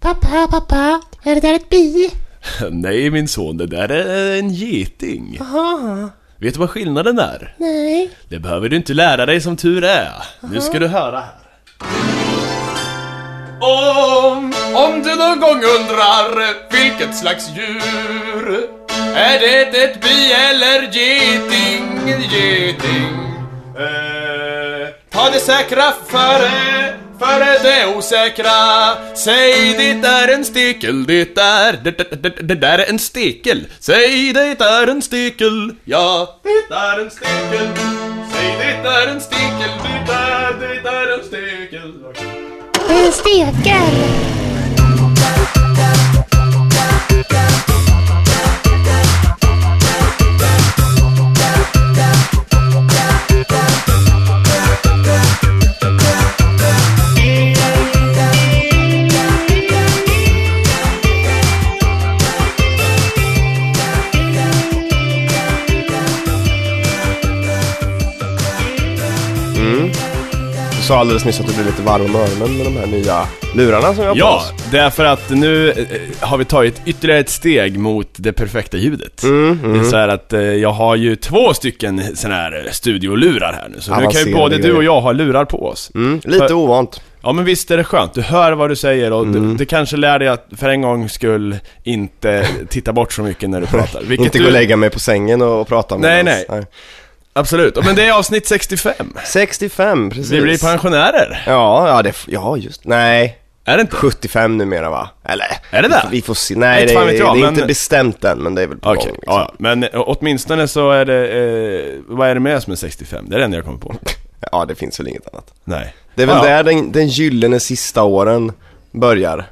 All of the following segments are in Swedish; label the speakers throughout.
Speaker 1: Pappa, pappa, är det där ett bi?
Speaker 2: Nej min son, det där är en geting.
Speaker 1: Jaha,
Speaker 2: Vet du vad skillnaden är?
Speaker 1: nej.
Speaker 2: Det behöver du inte lära dig som tur är. Nu ska du höra här. Om, om du någon gång undrar vilket slags djur Är det ett bi eller geting, geting? Eh, ta det säkra före, före det osäkra Säg det är en stekel, det är, det, det, det, det där är en stekel Säg det är en stekel, ja det är en stekel Säg det är en stekel, det är, det är en stekel
Speaker 1: En stekel.
Speaker 3: Du sa alldeles nyss att du blev lite varm om öronen med de här nya lurarna som jag har på
Speaker 2: Ja,
Speaker 3: oss.
Speaker 2: därför att nu eh, har vi tagit ytterligare ett steg mot det perfekta ljudet.
Speaker 3: Mm,
Speaker 2: Det är så här att eh, jag har ju två stycken sådana här eh, studiolurar här nu. Så nu kan ju
Speaker 3: Avancerade
Speaker 2: både du och
Speaker 3: grejer.
Speaker 2: jag ha lurar på oss.
Speaker 3: Mm, lite
Speaker 2: För-
Speaker 3: ovant.
Speaker 2: Ja men visst är det skönt, du hör vad du säger och du,
Speaker 3: Mm.
Speaker 2: du kanske lär dig att för en gångs skull inte titta bort så mycket när du pratar. Vilket
Speaker 3: Inte
Speaker 2: du...
Speaker 3: gå och lägga mig på sängen och, och prata med
Speaker 2: Nej,
Speaker 3: oss.
Speaker 2: nej. Absolut, men det är avsnitt 65.
Speaker 3: 65, precis.
Speaker 2: Vi blir pensionärer,
Speaker 3: Ja, ja, det, f- ja, just Nej,
Speaker 2: är det inte?
Speaker 3: 75 numera va? Eller?
Speaker 2: Är det
Speaker 3: vi
Speaker 2: det?
Speaker 3: får- Vi får se. Nej,
Speaker 2: Inte
Speaker 3: det,
Speaker 2: fan
Speaker 3: är,
Speaker 2: vet
Speaker 3: det
Speaker 2: jag,
Speaker 3: är
Speaker 2: men-
Speaker 3: inte bestämt än, men det är väl på
Speaker 2: Okej,
Speaker 3: gång. Liksom.
Speaker 2: ja, ja. men eh, åtminstone så är det, eh, vad är det mer som är 65? Det är det enda jag kommer på.
Speaker 3: liksom. ja, det finns väl inget annat.
Speaker 2: Nej.
Speaker 3: Det är väl
Speaker 2: Ja, ja.
Speaker 3: där den, den gyllene sista åren börjar.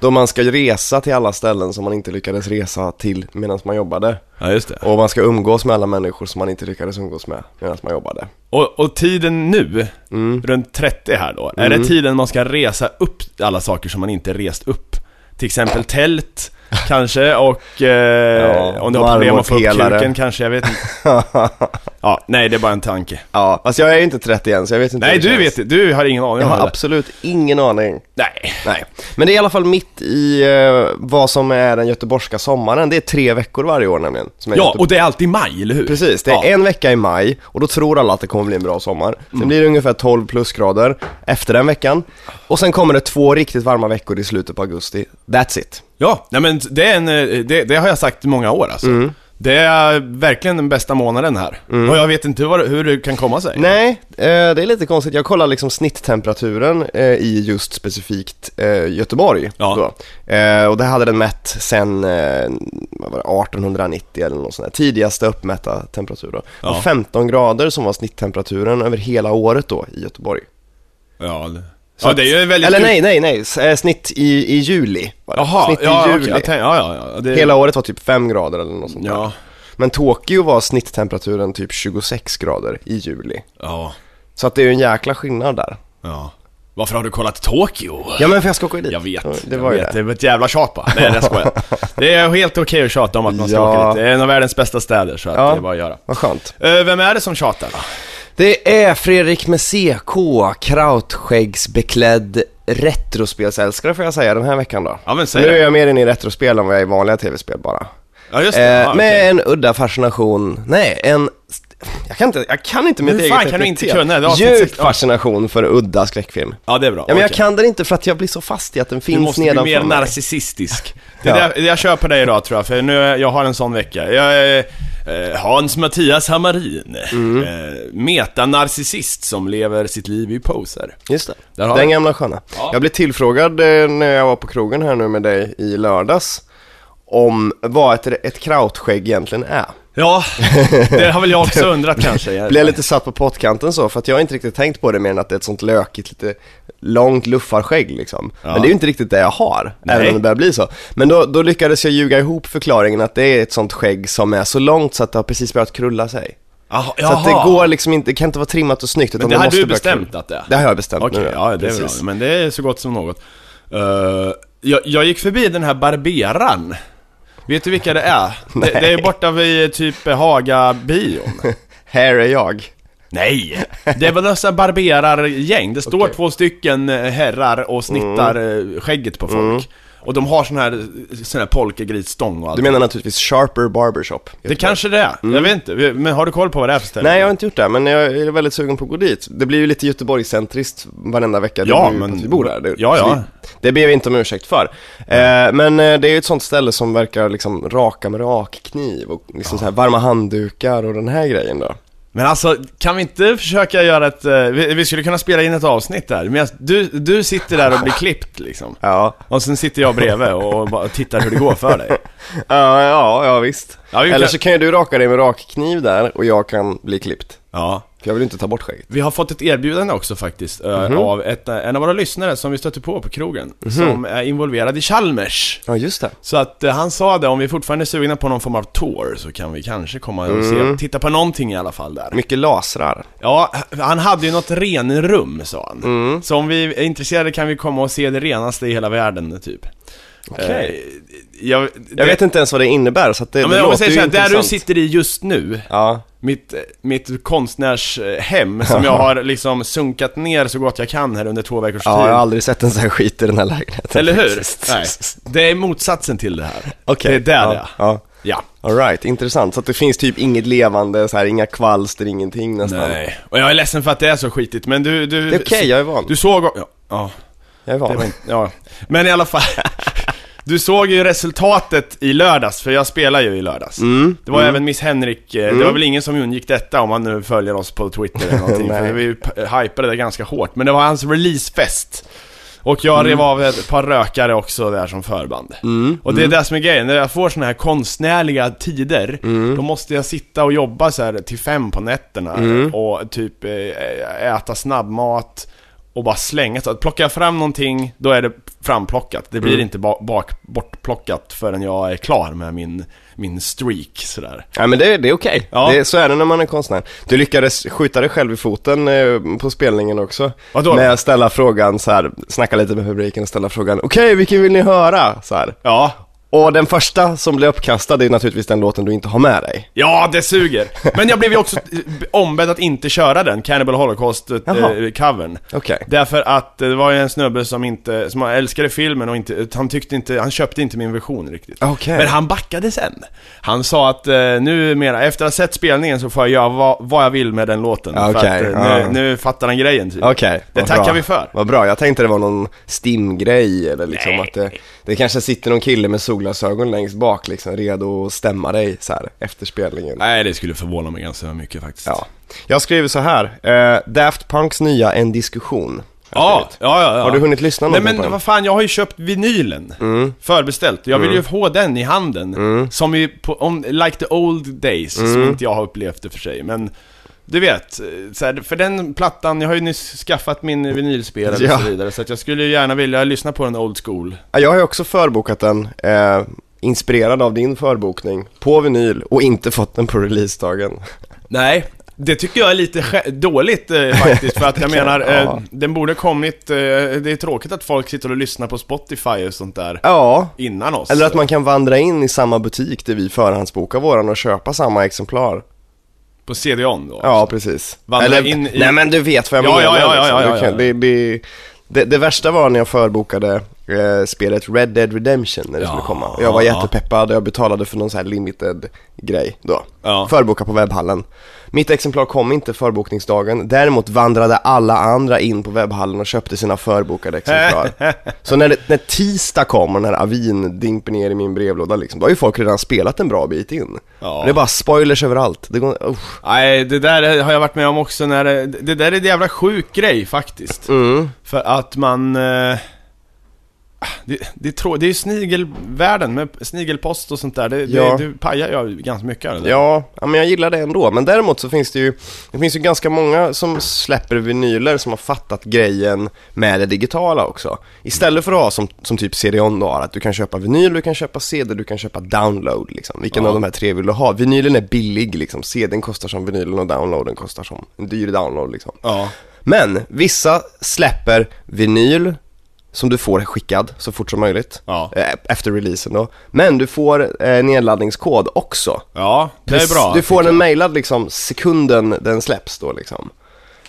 Speaker 3: Då man ska resa till alla ställen som man inte lyckades resa till medan man jobbade.
Speaker 2: Ja, just det.
Speaker 3: Och man ska umgås med alla människor som man inte lyckades umgås med medan man jobbade.
Speaker 2: Och, och tiden nu,
Speaker 3: Mm.
Speaker 2: runt 30 här då, är det tiden man ska resa upp alla saker som man inte rest upp? Till exempel tält, kanske, och eh,
Speaker 3: Ja,
Speaker 2: om du har problem att få upp
Speaker 3: marmorpelare.
Speaker 2: kuken kanske, jag vet inte. Ja, nej det är bara en tanke.
Speaker 3: ja, fast jag är ju inte 30 än så jag vet inte
Speaker 2: Nej
Speaker 3: hur det
Speaker 2: du
Speaker 3: känns.
Speaker 2: vet det, du har ingen aning
Speaker 3: Jag
Speaker 2: om
Speaker 3: har
Speaker 2: det.
Speaker 3: absolut ingen aning.
Speaker 2: Nej.
Speaker 3: Nej, men det är i alla fall mitt i eh, vad som är den göteborgska sommaren. Det är tre veckor varje år nämligen. Som är
Speaker 2: Ja,
Speaker 3: Göte-
Speaker 2: och det är alltid maj, eller hur?
Speaker 3: Precis, det är
Speaker 2: ja.
Speaker 3: en vecka i maj och då tror alla att det kommer bli en bra sommar. Sen
Speaker 2: Mm.
Speaker 3: blir det ungefär 12 plusgrader efter den veckan. Och sen kommer det två riktigt varma veckor i slutet på augusti. That's it.
Speaker 2: Ja, nej men det är en, eh, det, det har jag sagt i många år alltså.
Speaker 3: Mm.
Speaker 2: Det är verkligen den bästa månaden här. Och jag vet inte hur, hur det kan komma sig.
Speaker 3: Nej, eh, det är lite konstigt. Jag kollar liksom snitttemperaturen eh, i just specifikt eh, Göteborg.
Speaker 2: Ja.
Speaker 3: Då. Eh, och det hade den mätt sen eh, vad var det, 1890 eller något sånt där. Tidigaste uppmätta temperatur då.
Speaker 2: Ja.
Speaker 3: Och 15 grader som var snitttemperaturen över hela året då i Göteborg.
Speaker 2: Ja, det,
Speaker 3: Så
Speaker 2: ja,
Speaker 3: att-
Speaker 2: det är ju väldigt
Speaker 3: Eller
Speaker 2: kul.
Speaker 3: nej, nej, nej. S- eh, Snitt i, i juli. var det.
Speaker 2: Jaha,
Speaker 3: Snitt i
Speaker 2: ja, okej,
Speaker 3: juli.
Speaker 2: jag tänk, ja, ja, ja, det,
Speaker 3: Hela året var typ 5 grader eller något sånt där.
Speaker 2: Ja,
Speaker 3: Men Tokyo var snitttemperaturen typ 26 grader i juli.
Speaker 2: ja,
Speaker 3: Så att det är ju en jäkla skillnad där.
Speaker 2: ja. Varför har du kollat Tokyo?
Speaker 3: Ja men för jag ska åka dit.
Speaker 2: Jag vet,
Speaker 3: Det var
Speaker 2: jag
Speaker 3: ju
Speaker 2: vet,
Speaker 3: det.
Speaker 2: det var ett jävla tjat bara. Nej jag skojar. Det är helt okej att tjata om att man ska
Speaker 3: Ja.
Speaker 2: åka dit. Det är en av världens bästa städer så att
Speaker 3: Ja.
Speaker 2: det är bara att göra.
Speaker 3: Vad skönt.
Speaker 2: Eh, Vem är det som tjatar då?
Speaker 3: Det är Fredrik med CK, krautskäggsbeklädd retrospelsälskare får jag säga den här veckan då.
Speaker 2: Ja, men säg
Speaker 3: nu
Speaker 2: det.
Speaker 3: är jag mer inne i retrospel än vad jag är i vanliga tv-spel bara.
Speaker 2: Ja just det,
Speaker 3: Eh,
Speaker 2: ja,
Speaker 3: med
Speaker 2: okej.
Speaker 3: en udda fascination, nej en... Jag kan inte, jag kan inte mitt
Speaker 2: Hur
Speaker 3: eget
Speaker 2: fan kan du inte
Speaker 3: epitet.
Speaker 2: kunna? Det är avsnitt
Speaker 3: Djup
Speaker 2: sex- ja.
Speaker 3: fascination för udda skräckfilm.
Speaker 2: ja det är bra.
Speaker 3: Ja men jag
Speaker 2: Okej.
Speaker 3: kan den inte för att jag blir så fast i att den
Speaker 2: Du
Speaker 3: finns
Speaker 2: måste bli
Speaker 3: nedanför
Speaker 2: mer
Speaker 3: mig.
Speaker 2: narcissistisk. Det
Speaker 3: Ja.
Speaker 2: är det jag, jag kör på dig idag tror jag, för nu, jag har en sån vecka. Jag är eh, Hans Mattias Hammarin.
Speaker 3: Mm.
Speaker 2: Eh, metanarcissist som lever sitt liv i poser.
Speaker 3: Just det.
Speaker 2: Där har
Speaker 3: den
Speaker 2: vi.
Speaker 3: gamla sköna.
Speaker 2: Ja.
Speaker 3: Jag blev tillfrågad eh, när jag var på krogen här nu med dig i lördags om vad ett, ett krautskägg egentligen är.
Speaker 2: Ja, det har väl jag också undrat kanske. Jag-
Speaker 3: Blev jag lite satt på pottkanten så, för att jag har inte riktigt tänkt på det mer än att det är ett sånt lökigt, lite långt luffarskägg liksom.
Speaker 2: Ja.
Speaker 3: Men det är ju inte riktigt det jag har, även
Speaker 2: Nej.
Speaker 3: om det börjar bli så. Men då, då lyckades jag ljuga ihop förklaringen att det är ett sånt skägg som är så långt så att det har precis börjat krulla sig.
Speaker 2: Jaha,
Speaker 3: Så att det går liksom inte, det kan inte vara trimmat och snyggt utan
Speaker 2: Men det har
Speaker 3: måste
Speaker 2: du
Speaker 3: börja krulla.
Speaker 2: bestämt att det är?
Speaker 3: Det har jag bestämt
Speaker 2: Okej,
Speaker 3: nu
Speaker 2: ja det är bra.
Speaker 3: Precis.
Speaker 2: Men det är så gott som något. Eh, jag, jag gick förbi den här barberaren. Vet du vilka det är? Det, det är borta vid typ Haga-bion.
Speaker 3: Här är jag.
Speaker 2: Nej! Det var dessa barberargäng. Det står två stycken eh, herrar och snittar
Speaker 3: Mm.
Speaker 2: eh, skägget på folk. Och de har sån här, sån här polkagrisstång och allt.
Speaker 3: Du menar naturligtvis Sharper Barbershop?
Speaker 2: Det kanske det är. Jag vet inte. Vi- Men har du koll på vad det är för ställe?
Speaker 3: Nej, jag har inte gjort det, men jag är väldigt sugen på att gå dit. Det blir ju lite Göteborgscentriskt varenda vecka.
Speaker 2: Ja,
Speaker 3: det blir ju
Speaker 2: men-
Speaker 3: att vi bor där. Det,
Speaker 2: Ja, ja.
Speaker 3: så Vi, det ber vi inte om ursäkt för. Eh, men eh, det är ju ett sånt ställe som verkar liksom raka med rakkniv och liksom så här varma handdukar och den här grejen då.
Speaker 2: Men alltså, kan vi inte försöka göra ett... eh, Vi, vi skulle kunna spela in ett avsnitt där. Men jag- du, du sitter där och blir klippt liksom.
Speaker 3: Ja,
Speaker 2: Och sen sitter jag bredvid och och bara tittar hur det går för dig.
Speaker 3: ja, ja, ja visst.
Speaker 2: Ja, vi kan-
Speaker 3: Eller så kan ju du raka dig med rakkniv där och jag kan bli klippt.
Speaker 2: Ja.
Speaker 3: För jag vill inte ta bort skägget.
Speaker 2: Vi har fått ett erbjudande också faktiskt eh,
Speaker 3: Mhm.
Speaker 2: av ett, eh, en av våra lyssnare som vi stötte på på krogen, som är involverad i Chalmers.
Speaker 3: Ja, just det.
Speaker 2: Så att eh, han sa det, om vi fortfarande är sugna på någon form av tour så kan vi kanske komma och
Speaker 3: Mm.
Speaker 2: se, titta på någonting i alla fall där.
Speaker 3: Mycket lasrar.
Speaker 2: Ja, han hade ju något renrum sa han.
Speaker 3: Mm.
Speaker 2: Så om vi är intresserade kan vi komma och se det renaste i hela världen typ. Okej. jag,
Speaker 3: Eh, Jag vet inte ens vad det innebär, så att det,
Speaker 2: Ja,
Speaker 3: det
Speaker 2: men om jag
Speaker 3: låter
Speaker 2: säger
Speaker 3: ju
Speaker 2: så här, där
Speaker 3: intressant.
Speaker 2: du sitter i just nu,
Speaker 3: Ja,
Speaker 2: mitt, mitt konstnärshem som jag har liksom sunkat ner så gott jag kan här under två veckors
Speaker 3: ja, jag har
Speaker 2: tid.
Speaker 3: aldrig sett en sån här skit i den här lägenheten.
Speaker 2: Eller hur?
Speaker 3: faktiskt.
Speaker 2: Nej. Det är motsatsen till det här.
Speaker 3: Okej.
Speaker 2: Det är där
Speaker 3: ja.
Speaker 2: ja.
Speaker 3: ja.
Speaker 2: Ja.
Speaker 3: Alright, intressant. Så att det finns typ inget levande, så här, inga kvalster, ingenting nästan.
Speaker 2: Nej. Och jag är ledsen för att det är så skitigt, men du... du
Speaker 3: Det är okej, jag är van.
Speaker 2: Du såg... Ja. ja.
Speaker 3: Jag är van.
Speaker 2: Det var inte, ja. Men i alla fall. Du såg ju resultatet i lördags, för jag spelar ju i lördags.
Speaker 3: Mm.
Speaker 2: Det var även Miss Henrik, eh, det var väl ingen som undgick detta om han nu följer oss på Twitter eller någonting. för
Speaker 3: Nej.
Speaker 2: vi p- hypade det ganska hårt. Men det var hans releasefest. Och jag rev av ett par rökare också där som förband. Och det är det som är grejen, när jag får såna här konstnärliga tider, då måste jag sitta och jobba så här till fem på nätterna och typ eh, äta snabbmat och bara slänga. Så att plockar jag fram någonting, då är det framplockat. Det blir inte ba- bak- bortplockat förrän jag är klar med min, min streak sådär.
Speaker 3: Ja, men det, det är okej.
Speaker 2: Ja.
Speaker 3: Det- Så är det när man är konstnär. Du lyckades skjuta dig själv i foten eh, på spelningen också.
Speaker 2: Vadå?
Speaker 3: Med att ställa frågan så här, snacka lite med publiken och ställa frågan, okej vilken vill ni höra? Så här.
Speaker 2: Ja,
Speaker 3: Och den första som blev uppkastad är naturligtvis den låten du inte har med dig.
Speaker 2: Ja, det suger! Men jag blev ju också eh, ombedd att inte köra den, Cannibal
Speaker 3: Jaha.
Speaker 2: Holocaust-covern.
Speaker 3: Okej.
Speaker 2: Därför att eh, det var ju en snubbe som inte, som älskade filmen och inte, han tyckte inte, han köpte inte min version riktigt.
Speaker 3: Okej.
Speaker 2: Men han backade sen. Han sa att eh, nu mera, efter att ha sett spelningen så får jag göra vad, vad jag vill med den låten.
Speaker 3: Ja,
Speaker 2: För att,
Speaker 3: okej,
Speaker 2: eh, nu,
Speaker 3: ja.
Speaker 2: nu fattar han grejen typ.
Speaker 3: Okej,
Speaker 2: Det
Speaker 3: vad
Speaker 2: tackar
Speaker 3: bra.
Speaker 2: vi för.
Speaker 3: Vad bra, jag tänkte det var någon stimgrej eller liksom att det, det kanske sitter någon kille med solglasögon längst bak liksom redo att stämma dig så här efter spelningen.
Speaker 2: Nej, det skulle förvåna mig ganska mycket faktiskt.
Speaker 3: Ja. Jag skriver så här, eh, Daft Punks nya En diskussion. Jag
Speaker 2: Ja,
Speaker 3: skrivit.
Speaker 2: ja, ja, ja.
Speaker 3: Har du hunnit lyssna
Speaker 2: Nej
Speaker 3: någonting
Speaker 2: men
Speaker 3: på den?
Speaker 2: vad fan, jag har ju köpt vinylen.
Speaker 3: Mm.
Speaker 2: Förbeställt. Jag vill ju få den i handen. Som ju, på, om, like the old days,
Speaker 3: Mm.
Speaker 2: som inte jag har upplevt det för sig. Men du vet, eh, så här, för den plattan, jag har ju nyss skaffat min vinylspelare
Speaker 3: Ja.
Speaker 2: och så vidare. Så att jag skulle ju gärna vilja lyssna på den old school.
Speaker 3: Ja, Jag har ju också förbokat den, eh, inspirerad av din förbokning, på vinyl och inte fått den på releasedagen.
Speaker 2: Nej. Det tycker jag är lite skä- dåligt eh, faktiskt, för att jag menar, eh,
Speaker 3: ja.
Speaker 2: den borde kommit... Eh, det är tråkigt att folk sitter och lyssnar på Spotify och sånt där
Speaker 3: Ja,
Speaker 2: innan oss.
Speaker 3: eller att man kan vandra in i samma butik där vi förhandsbokar våran och köpa samma exemplar.
Speaker 2: På CD-ON då.
Speaker 3: Ja, precis.
Speaker 2: Alltså, Vandra in i-
Speaker 3: Nej, men du vet vad jag
Speaker 2: Ja,
Speaker 3: menar.
Speaker 2: ja, ja, ja, ja,
Speaker 3: liksom.
Speaker 2: ja, ja.
Speaker 3: Du kan- Det, det, det, det värsta var när jag förbokade eh, spelet Red Dead Redemption när det
Speaker 2: Ja,
Speaker 3: skulle komma. Jag var
Speaker 2: ja.
Speaker 3: jättepeppad och jag betalade för någon sån här limited grej då.
Speaker 2: Ja.
Speaker 3: Förboka på webbhallen. Mitt exemplar kom inte förbokningsdagen, däremot vandrade alla andra in på webbhallen och köpte sina förbokade exemplar. Så när, det, när tisdag kom och den här avin dimper ner i min brevlåda liksom, då har ju folk redan spelat en bra bit in.
Speaker 2: Ja.
Speaker 3: Det är bara spoilers överallt. Det går, usch.
Speaker 2: Nej, det där har jag varit med om också när det, det där är en jävla sjuk grej faktiskt. För att man... eh, Det, det, är trå- det är ju snigelvärlden med snigelpost och sånt där. Det,
Speaker 3: Ja.
Speaker 2: det, du pajar ju ganska mycket av det där.
Speaker 3: Ja, ja, men jag gillar det ändå. Men däremot så finns det ju, det finns ju ganska många som släpper vinyler som har fattat grejen med det digitala också. Istället för att ha som, som typ CD-ON då har, att du kan köpa vinyl, du kan köpa CD, du kan köpa download liksom. Vilken
Speaker 2: Ja.
Speaker 3: av de här tre vill du ha? Vinylen är billig liksom, CDn kostar som vinylen och downloaden kostar som en dyr download liksom.
Speaker 2: Ja.
Speaker 3: Men vissa släpper vinyl som du får skickad så fort som möjligt,
Speaker 2: Ja.
Speaker 3: eh, efter releasen då. Men du får eh, nedladdningskod också.
Speaker 2: Ja, det är bra.
Speaker 3: Du får den mailad liksom sekunden den släpps då liksom.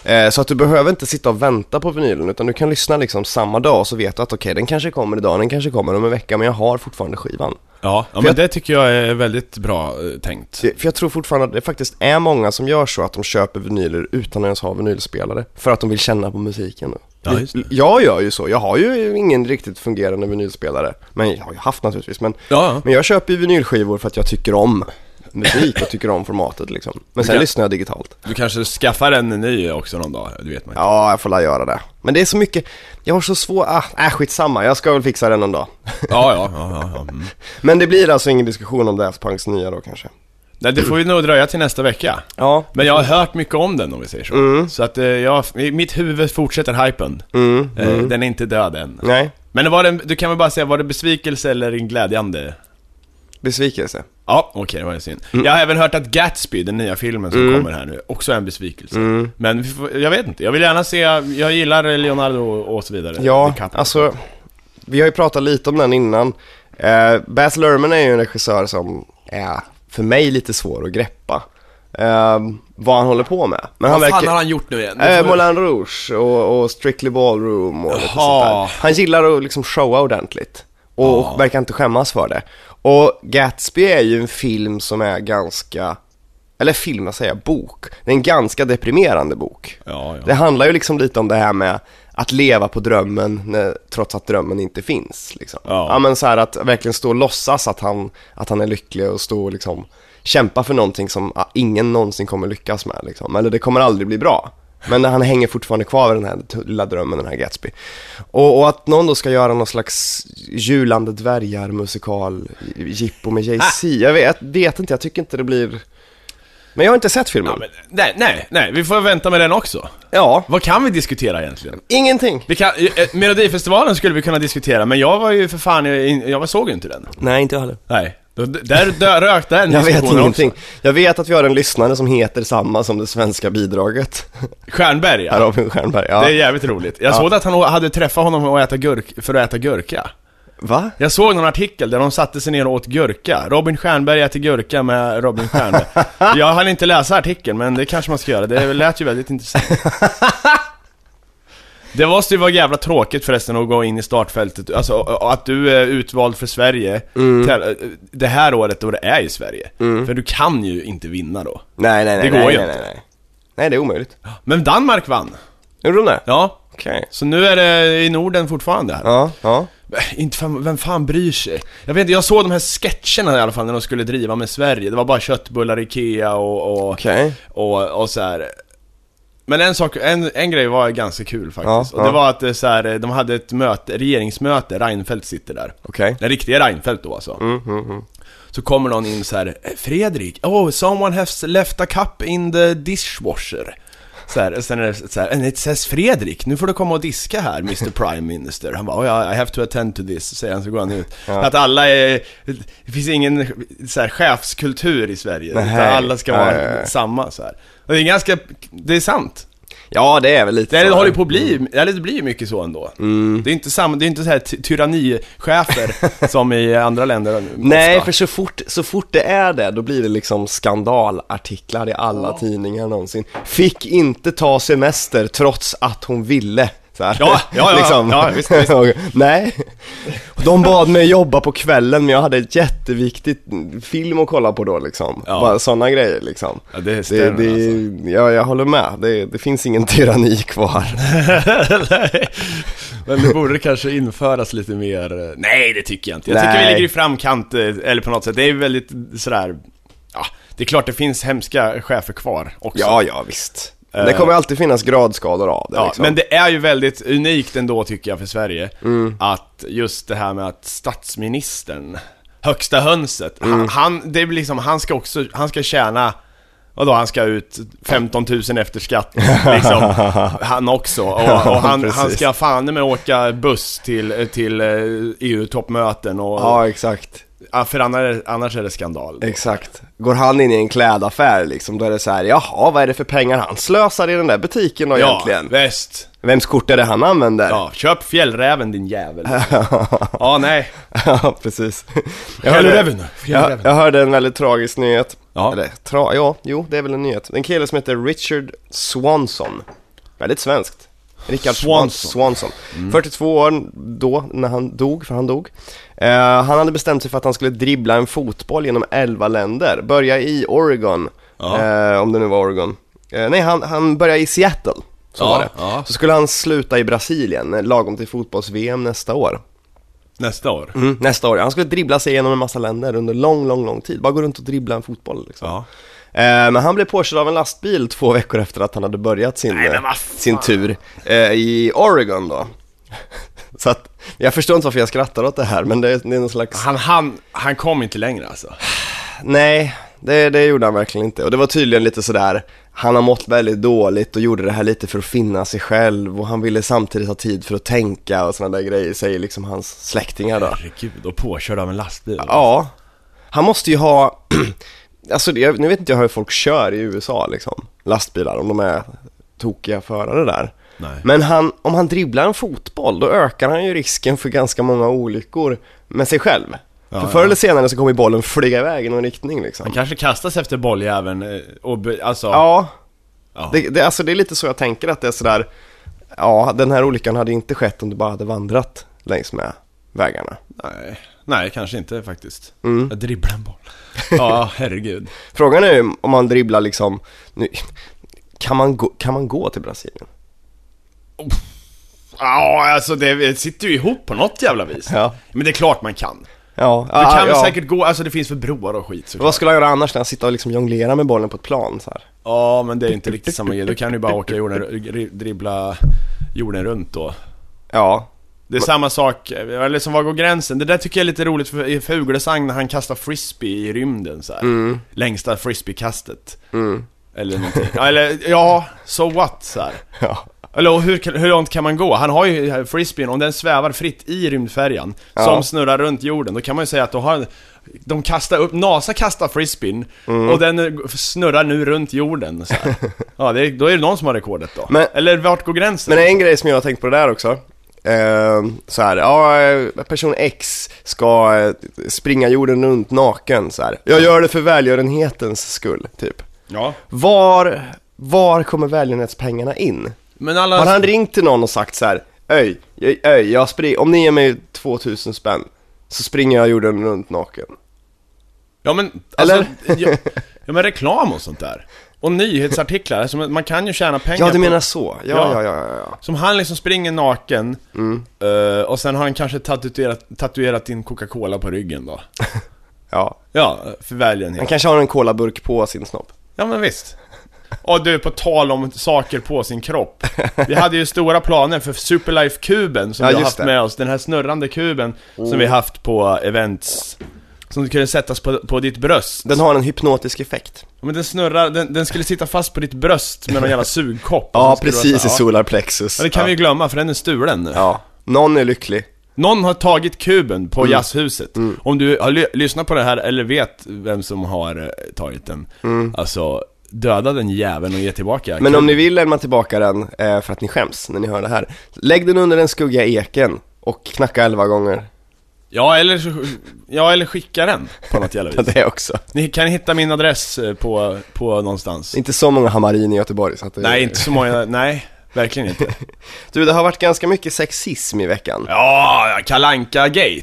Speaker 3: Eh, så att du behöver inte sitta och vänta på vinylen utan du kan lyssna liksom samma dag så vet du att okej den kanske kommer idag, den kanske kommer om en vecka men jag har fortfarande skivan.
Speaker 2: Ja, ja
Speaker 3: För
Speaker 2: men
Speaker 3: jag-
Speaker 2: det tycker jag är väldigt bra eh, tänkt.
Speaker 3: Det- För jag tror fortfarande att det faktiskt är många som gör så att de köper vinyler utan att ens ha vinylspelare. För att de vill känna på musiken.
Speaker 2: Ja, just det.
Speaker 3: Jag gör ju så, jag har ju ingen riktigt fungerande vinylspelare. Men jag har ju haft naturligtvis. Men,
Speaker 2: Ja, ja.
Speaker 3: men jag köper ju vinylskivor för att jag tycker om musik och tycker om formatet liksom. Men sen
Speaker 2: Okej.
Speaker 3: lyssnar jag digitalt.
Speaker 2: Du kanske skaffar en ny också någon dag, det vet man inte.
Speaker 3: Ja, jag får la göra det. Men det är så mycket, jag har så svårt, ah, äh, skitsamma, jag ska väl fixa det någon dag.
Speaker 2: Ja, ja, ja, ja, ja. Mm.
Speaker 3: Men det blir alltså ingen diskussion om Daft Punks nya då kanske.
Speaker 2: Nej, det får ju nog dröja till nästa vecka.
Speaker 3: Ja.
Speaker 2: Men jag har hört mycket om den om vi säger så.
Speaker 3: Mm.
Speaker 2: Så att eh, jag, i mitt huvud fortsätter hypen.
Speaker 3: Mm,
Speaker 2: Eh, Den är inte död än.
Speaker 3: Nej,
Speaker 2: Men var det, du kan väl bara säga, var det besvikelse eller en glädjande?
Speaker 3: besvikelse.
Speaker 2: Ja, okej, det var ju synd.
Speaker 3: Mm.
Speaker 2: Jag har även hört att Gatsby, den nya filmen som kommer här nu, också är en besvikelse.
Speaker 3: Mm.
Speaker 2: Men vi får, jag vet inte, jag vill gärna se, jag gillar Leonardo och så vidare.
Speaker 3: Ja,
Speaker 2: DiCaprio.
Speaker 3: alltså, vi har ju pratat lite om den innan. Eh, Baz Luhrmann är ju en regissör som är, för mig, lite svår att greppa. Eh, vad han håller på med. Men han
Speaker 2: Vad fan
Speaker 3: verkar...
Speaker 2: har han gjort nu igen?
Speaker 3: Eh, Moulin Rouge och, och Strictly Ballroom och lite sånt
Speaker 2: Jaha.
Speaker 3: där. Han gillar att liksom showa ordentligt och verkar inte skämmas för det. Och Gatsby är ju en film som är ganska, eller film, vad säger jag, bok. Det är en ganska deprimerande bok.
Speaker 2: Ja,
Speaker 3: Det
Speaker 2: ja.
Speaker 3: handlar ju liksom lite om det här med att leva på drömmen när, trots att drömmen inte finns. Liksom.
Speaker 2: Ja.
Speaker 3: men så här att verkligen stå och låtsas att han, att han är lycklig och stå och liksom kämpa för någonting som ah, ingen någonsin kommer lyckas med. Liksom. Eller det kommer aldrig bli bra. Men han hänger fortfarande kvar vid den här t- lilla drömmen, den här Gatsby. Och, och att någon då ska göra någon slags julande dvärgar musikal jippo med
Speaker 2: Ah.
Speaker 3: Jay-Z. Jag vet, vet inte, jag tycker inte det blir... Men jag har inte sett filmen. Ja,
Speaker 2: Men, nej, nej, nej, vi får vänta med den också. Vad kan vi diskutera egentligen?
Speaker 3: ingenting.
Speaker 2: Vi kan, eh, Melodifestivalen skulle vi kunna diskutera, men jag var ju för fan, jag, jag var- såg ju inte den.
Speaker 3: Nej, inte jag heller.
Speaker 2: Nej. Då- Där dö, rök den
Speaker 3: Jag vet
Speaker 2: diskussionen
Speaker 3: ingenting.
Speaker 2: Också.
Speaker 3: Jag vet att vi har en lyssnare som heter samma som det svenska bidraget.
Speaker 2: Stjernberg, ja.
Speaker 3: Här har vi Stjernberg. Ja.
Speaker 2: Det är jävligt roligt. Jag såg att han hade träffat honom och äta gurk, för att äta gurka.
Speaker 3: Va?
Speaker 2: Jag såg någon artikel där de satte sig ner och åt gurka. Robin Stjernberg äter gurka med Robin Stjernberg. jag hann inte läsa artikeln, men det kanske man ska göra. Det lät ju väldigt intressant. Det måste ju vara jävla tråkigt förresten att gå in i startfältet, alltså och- och att du är utvald för Sverige till- eh, det här året då det är i Sverige. För du kan ju inte vinna då.
Speaker 3: Nej, nej, nej.
Speaker 2: Det går
Speaker 3: nej,
Speaker 2: ju
Speaker 3: nej,
Speaker 2: inte.
Speaker 3: Nej, nej. nej, det är omöjligt.
Speaker 2: Men Danmark vann!
Speaker 3: Gjorde de det?
Speaker 2: Ja.
Speaker 3: Okej.
Speaker 2: Så nu är det i Norden fortfarande här.
Speaker 3: Ja, ja.
Speaker 2: Äh, Inte fan, vem fan bryr sig? Jag vet inte, jag såg de här sketcherna i alla fall när de skulle driva med Sverige. Det var bara köttbullar, Ikea och, och,
Speaker 3: Okej.
Speaker 2: och, och så här. Men en sak, en, en grej var ganska kul faktiskt.
Speaker 3: Ja,
Speaker 2: och det
Speaker 3: ja.
Speaker 2: var att det så här, de hade ett möte, regeringsmöte, Reinfeldt sitter där.
Speaker 3: Okej.
Speaker 2: Den riktiga Reinfeldt då alltså.
Speaker 3: Mm,
Speaker 2: Så kommer någon in så här, Fredrik, oh someone has left a cup in the dishwasher. Så här, sen är det så här, and it says Fredrik, nu får du komma och diska här Mr Prime Minister. Han bara, oh, yeah, I have to attend to this, säger han så går han ut. Att alla är, det finns ingen så här, chefskultur i Sverige, utan
Speaker 3: Nej.
Speaker 2: alla ska vara
Speaker 3: Nej.
Speaker 2: samma så här. Och det är ganska, det är sant.
Speaker 3: Ja, det är Mm. väl lite
Speaker 2: Det är,
Speaker 3: så.
Speaker 2: håller ju på att bli, eller det blir ju mycket så ändå. Det är inte samma, det är inte så här ty- tyrannichefer som i andra länder ofta.
Speaker 3: Nej, för så fort, så fort det är det, då blir det liksom skandalartiklar i alla tidningar någonsin. Fick inte ta semester trots att hon ville. Så här. Liksom.
Speaker 2: Ja, ja, ja, ja, visst, visst.
Speaker 3: Och- Nej. Och De bad mig jobba på kvällen, men jag hade ett jätteviktigt film att kolla på då liksom.
Speaker 2: Ja.
Speaker 3: Bara sådana grejer liksom.
Speaker 2: Ja, det stämmer, alltså.
Speaker 3: ja, jag håller med. Det, det finns ingen tyranni kvar.
Speaker 2: Nej. Men det borde kanske införas lite mer, eh, nej det tycker jag inte. Jag tycker vi
Speaker 3: Nej.
Speaker 2: ligger i framkant, eh, eller på något sätt, det är ju väldigt sådär, ja, det är klart det finns hemska chefer kvar också.
Speaker 3: Ja, ja, visst. Det kommer alltid finnas gradskador av det
Speaker 2: Eh. Ja,
Speaker 3: liksom.
Speaker 2: men det är ju väldigt unikt ändå tycker jag för Sverige
Speaker 3: Mm.
Speaker 2: Att just det här med att statsministern Högsta hönset
Speaker 3: Mm.
Speaker 2: han, han, det blir liksom, han ska också, han ska tjäna Vadå, han ska ut 15 000 efter skatt liksom Han också, och, och han, han
Speaker 3: precis.
Speaker 2: ska fan med åka buss till, till eh, EU-toppmöten och
Speaker 3: Ja, exakt.
Speaker 2: ja, För annars, annars är det skandal
Speaker 3: Exakt. Går han in i en klädaffär liksom, då är det så här, jaha, vad är det för pengar han slösar i den där butiken då
Speaker 2: Ja,
Speaker 3: egentligen?
Speaker 2: väst
Speaker 3: Vems kort är det han använder?
Speaker 2: Ja, köp fjällräven din jävel. ja, nej.
Speaker 3: Ja, precis. Jag hörde,
Speaker 2: Fjällräven.
Speaker 3: jag,
Speaker 2: Fjällräven.
Speaker 3: jag hörde en väldigt tragisk nyhet.
Speaker 2: Ja.
Speaker 3: Eller, tra, ja, jo, det är väl en nyhet. En kille som heter Richard Swanson. Väldigt svenskt. Richard Swanson.
Speaker 2: Swanson. Mm.
Speaker 3: Swanson. 42 år då, när han dog, för han dog. Eh, han hade bestämt sig för att han skulle dribbla en fotboll genom 11 länder. Börja i Oregon,
Speaker 2: Ja.
Speaker 3: eh, om det nu var Oregon. Eh, nej, han, han började i Seattle. Så
Speaker 2: Ja,
Speaker 3: var det.
Speaker 2: ja.
Speaker 3: Så skulle han sluta i Brasilien, eh, lagom till fotbolls-VM nästa år.
Speaker 2: Nästa år.
Speaker 3: Mm, nästa år. Han skulle dribbla sig igenom en massa länder under lång, lång, lång tid. Bara gå runt och dribbla en fotboll liksom.
Speaker 2: Ja.
Speaker 3: Eh, men han blev påkörd av en lastbil två veckor efter att han hade börjat sin,
Speaker 2: Nej, men
Speaker 3: eh,
Speaker 2: vad fan.
Speaker 3: sin tur eh, i Oregon då. Så att, jag förstår inte varför jag skrattar åt det här, men det, är- det är någon slags...
Speaker 2: Han, han, han kom inte längre alltså.
Speaker 3: Nej, det, det gjorde han verkligen inte. Och det var tydligen lite sådär, han har mått väldigt dåligt och gjorde det här lite för att finna sig själv och han ville samtidigt ha tid för att tänka och sådana där grejer, säger liksom hans släktingar då.
Speaker 2: Herregud, och påkörd av en lastbil.
Speaker 3: Ja, han måste ju ha, alltså det- jag, nu vet inte jag hur folk kör i USA liksom, lastbilar, om de är tokiga förare där.
Speaker 2: Nej.
Speaker 3: Men han, om han dribblar en fotboll, då ökar han ju risken för ganska många olyckor med sig själv. för förr eller senare så kommer ju bollen flyga iväg i någon riktning liksom.
Speaker 2: Han kanske kastas efter bolljäveln eh, och be, alltså...
Speaker 3: Ja,
Speaker 2: Ja.
Speaker 3: Det, det, alltså det är lite så jag tänker att det är sådär, ja den här olyckan hade inte skett om du bara hade vandrat längs med vägarna.
Speaker 2: Nej. Nej, kanske inte faktiskt. Jag dribblar en boll. Ja, herregud.
Speaker 3: Frågan är ju om man dribblar liksom, nu, kan, man gå, kan man gå till Brasilien?
Speaker 2: Ja, alltså det sitter ju ihop på något jävla vis.
Speaker 3: Ja.
Speaker 2: Men det är klart man kan.
Speaker 3: Ja, ah,
Speaker 2: Du kan väl
Speaker 3: ja.
Speaker 2: säkert gå, alltså det finns för broar och skit såklart.
Speaker 3: Vad skulle han göra annars när han sitter och liksom jonglerar med bollen på ett plan så här?
Speaker 2: Ja, men det är inte riktigt samma grej. Då kan du bara åka jorden, ri- dribbla jorden runt då.
Speaker 3: Ja,
Speaker 2: Det är samma sak, eh, eller som var går gränsen? Det där tycker jag är lite roligt för, i Fuglesang när han kastar frisbee i rymden så här.
Speaker 3: Mm.
Speaker 2: Längsta frisbeekastet. Eller någonting. Ja, eller, ja, so what så här.
Speaker 3: ja,
Speaker 2: Eller och hur, kan- hur långt kan man gå? Han har ju eh, frisbeen, om den svävar fritt i rymdfärjan
Speaker 3: Ja.
Speaker 2: Som snurrar runt jorden, då kan man ju säga att då har De kastar upp, NASA kastar frisbeen
Speaker 3: Mm.
Speaker 2: Och den eh, snurrar nu runt jorden så här. Ja, det, är- då är det någon som har rekordet då
Speaker 3: Men-
Speaker 2: Eller vart går gränsen?
Speaker 3: men en grej som jag har tänkt på det där också eh, så här, ja, eh, person X ska eh, springa jorden runt naken så här. Jag gör det för välgörenhetens skull, typ.
Speaker 2: Ja
Speaker 3: Var, var kommer välgörenhetspengarna in?
Speaker 2: Men alla...
Speaker 3: Har han ringt till någon och sagt så här, öj, öj, öj jag spring, om ni ger mig 2000 spänn så springer jag jorden runt naken.
Speaker 2: Ja men, alltså,
Speaker 3: Eller?
Speaker 2: ja, ja men reklam och sånt där Och nyhetsartiklar, alltså, man man kan ju tjäna pengar
Speaker 3: Ja, du
Speaker 2: på-
Speaker 3: menar så. Ja,
Speaker 2: Ja.
Speaker 3: ja, ja, ja. ja.
Speaker 2: Som han liksom springer naken
Speaker 3: Mm.
Speaker 2: eh, Och sen har han kanske tatuerat, tatuerat in Coca-Cola på ryggen då
Speaker 3: ja.
Speaker 2: Ja, för
Speaker 3: Han
Speaker 2: välgörenhet.
Speaker 3: kanske har en colaburk på sin snopp.
Speaker 2: Ja men visst. Och du, på tal om saker på sin kropp. Vi hade ju stora planer för Superlife-kuben som
Speaker 3: Ja,
Speaker 2: vi har
Speaker 3: just
Speaker 2: haft
Speaker 3: det. Oh.
Speaker 2: med oss. Den här snurrande kuben som vi haft på events. Som kunde sättas på, på ditt bröst.
Speaker 3: Den har en hypnotisk effekt.
Speaker 2: Ja, Men den snurrar, den, den skulle sitta fast på ditt bröst med någon jävla sugkopp. Och
Speaker 3: Ja,
Speaker 2: så skulle det vara
Speaker 3: precis
Speaker 2: så
Speaker 3: i
Speaker 2: här, ja.
Speaker 3: solarplexus.
Speaker 2: Ja, det kan vi ju glömma för den är stulen nu.
Speaker 3: Ja. Någon är lycklig.
Speaker 2: Någon har tagit kuben på
Speaker 3: Mm.
Speaker 2: jazzhuset. Om du har ly- lyssnat på det här eller vet vem som har eh, tagit den. Alltså, döda den jäveln och ge tillbaka
Speaker 3: Mm. Men om ni vill lämna tillbaka den, eh, för att ni skäms när ni hör det här, lägg den under den skuggiga eken och knacka elva gånger.
Speaker 2: Ja, eller, så- ja, eller skicka den på något jävla vis.
Speaker 3: Det också.
Speaker 2: Ni kan hitta min adress eh, på, på någonstans.
Speaker 3: Inte så många Hamarin i Göteborg så att det...
Speaker 2: Nej, inte så många, nej. Verkligen inte.
Speaker 3: Du, det har varit ganska mycket sexism i veckan.
Speaker 2: Ja, Kalanka Gate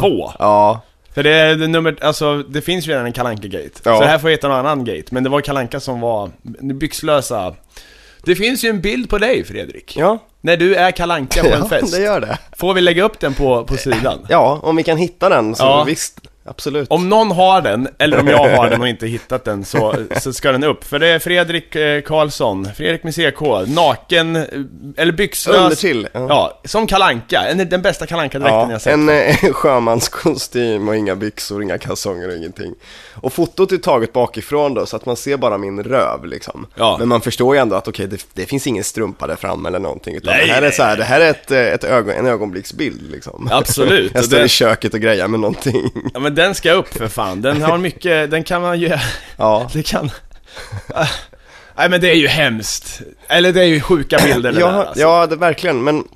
Speaker 2: 2.
Speaker 3: Ja.
Speaker 2: För det är det nummer, alltså det finns ju redan en Kalanka Gate.
Speaker 3: Ja.
Speaker 2: Så det här får heta någon annan Gate. Men det var Kalanka som var den byxlösa. Det finns ju en bild på dig Fredrik.
Speaker 3: Ja.
Speaker 2: När du är Kalanka på en
Speaker 3: ja,
Speaker 2: fest.
Speaker 3: det gör det.
Speaker 2: Får vi lägga upp den på, på sidan?
Speaker 3: Ja, om vi kan hitta den så
Speaker 2: Ja.
Speaker 3: visst, absolut.
Speaker 2: Om någon har den, eller om jag har den och inte hittat den, så, så ska den upp. För det är Fredrik eh, Karlsson, Fredrik med CK, naken, eh, eller byxlös.
Speaker 3: Undertill, ja.
Speaker 2: Ja. som kalanka en Den bästa kalankadräkten jag
Speaker 3: Ja,
Speaker 2: har sett.
Speaker 3: en, eh, en sjömanskostym och inga byxor, inga kalsonger och ingenting. Och fotot är taget bakifrån då, så att man ser bara min röv liksom.
Speaker 2: Ja.
Speaker 3: Men man förstår ju ändå att okej, det, det finns ingen strumpa där fram eller någonting. Utan
Speaker 2: Nej,
Speaker 3: det här är
Speaker 2: nej.
Speaker 3: så här, det här är ett, eh, ett ögon, en ögonblicksbild liksom.
Speaker 2: Absolut,
Speaker 3: Jag
Speaker 2: och
Speaker 3: står
Speaker 2: det-
Speaker 3: i köket och grejar med någonting.
Speaker 2: Ja men den ska upp för fan, den har mycket, den kan man ju...
Speaker 3: Ja.
Speaker 2: Det kan... Ah, Nej men det är ju hemskt. Eller det är ju sjuka bilder det
Speaker 3: ja,
Speaker 2: där alltså.
Speaker 3: ja det, verkligen, men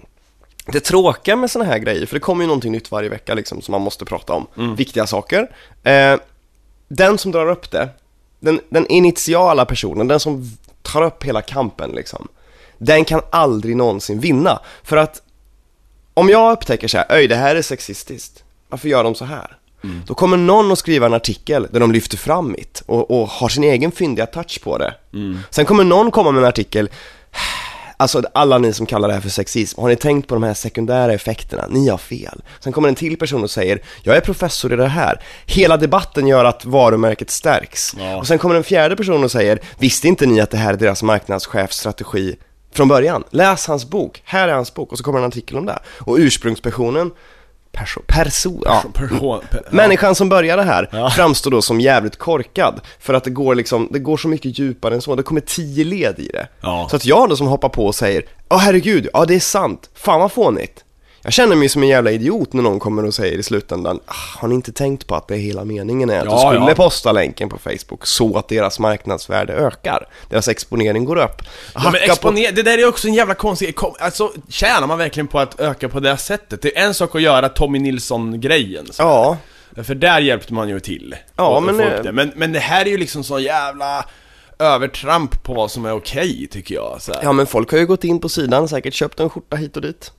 Speaker 3: det tråkiga med sådana här grejer, för det kommer ju någonting nytt varje vecka liksom, som man måste prata om,
Speaker 2: Mm.
Speaker 3: viktiga saker. Eh, den som drar upp det, den, den initiala personen, den som tar upp hela kampen liksom, den kan aldrig någonsin vinna. För att om jag upptäcker så här, öj det här är sexistiskt, varför gör de så här? Då kommer någon att skriva en artikel där de lyfter fram mitt och, och har sin egen fyndiga touch på det. Sen kommer någon komma med en artikel, alltså alla ni som kallar det här för sexism, har ni tänkt på de här sekundära effekterna? Ni har fel. Sen kommer en till person och säger, jag är professor i det här. Hela debatten gör att varumärket stärks.
Speaker 2: Ja.
Speaker 3: Och sen kommer en fjärde person och säger, visste inte ni att det här är deras marknadschefsstrategi från början? Läs hans bok, här är hans bok och så kommer en artikel om det. här. Och ursprungspersonen, perso, perso, ja.
Speaker 2: Person- pe- ja.
Speaker 3: Människan som börjar det här
Speaker 2: Ja.
Speaker 3: framstår då som jävligt korkad för att det går liksom, det går så mycket djupare än så, det kommer tio led i det.
Speaker 2: Ja.
Speaker 3: Så att jag då som hoppar på och säger, ja herregud, ja det är sant, fan vad fånigt. Jag känner mig som en jävla idiot när någon kommer och säger i slutändan, ah, har ni inte tänkt på att det är hela meningen är att
Speaker 2: Ja,
Speaker 3: du skulle
Speaker 2: ja.
Speaker 3: posta länken på Facebook så att deras marknadsvärde ökar, deras exponering går upp.
Speaker 2: Ja, men
Speaker 3: Hacka på-
Speaker 2: exponer- det där är också en jävla konstig, kom- alltså tjänar man verkligen på att öka på det här sättet? Det är en sak att göra Tommy Nilsson-grejen så.
Speaker 3: Ja,
Speaker 2: För där hjälpte man ju till.
Speaker 3: Ja,
Speaker 2: Och- och
Speaker 3: men,
Speaker 2: få upp
Speaker 3: eh,
Speaker 2: det. men, men det här är ju liksom så jävla övertramp på vad som är okej tycker jag. Så här.
Speaker 3: ja men folk har ju gått in på sidan, säkert köpt en skjorta hit och dit.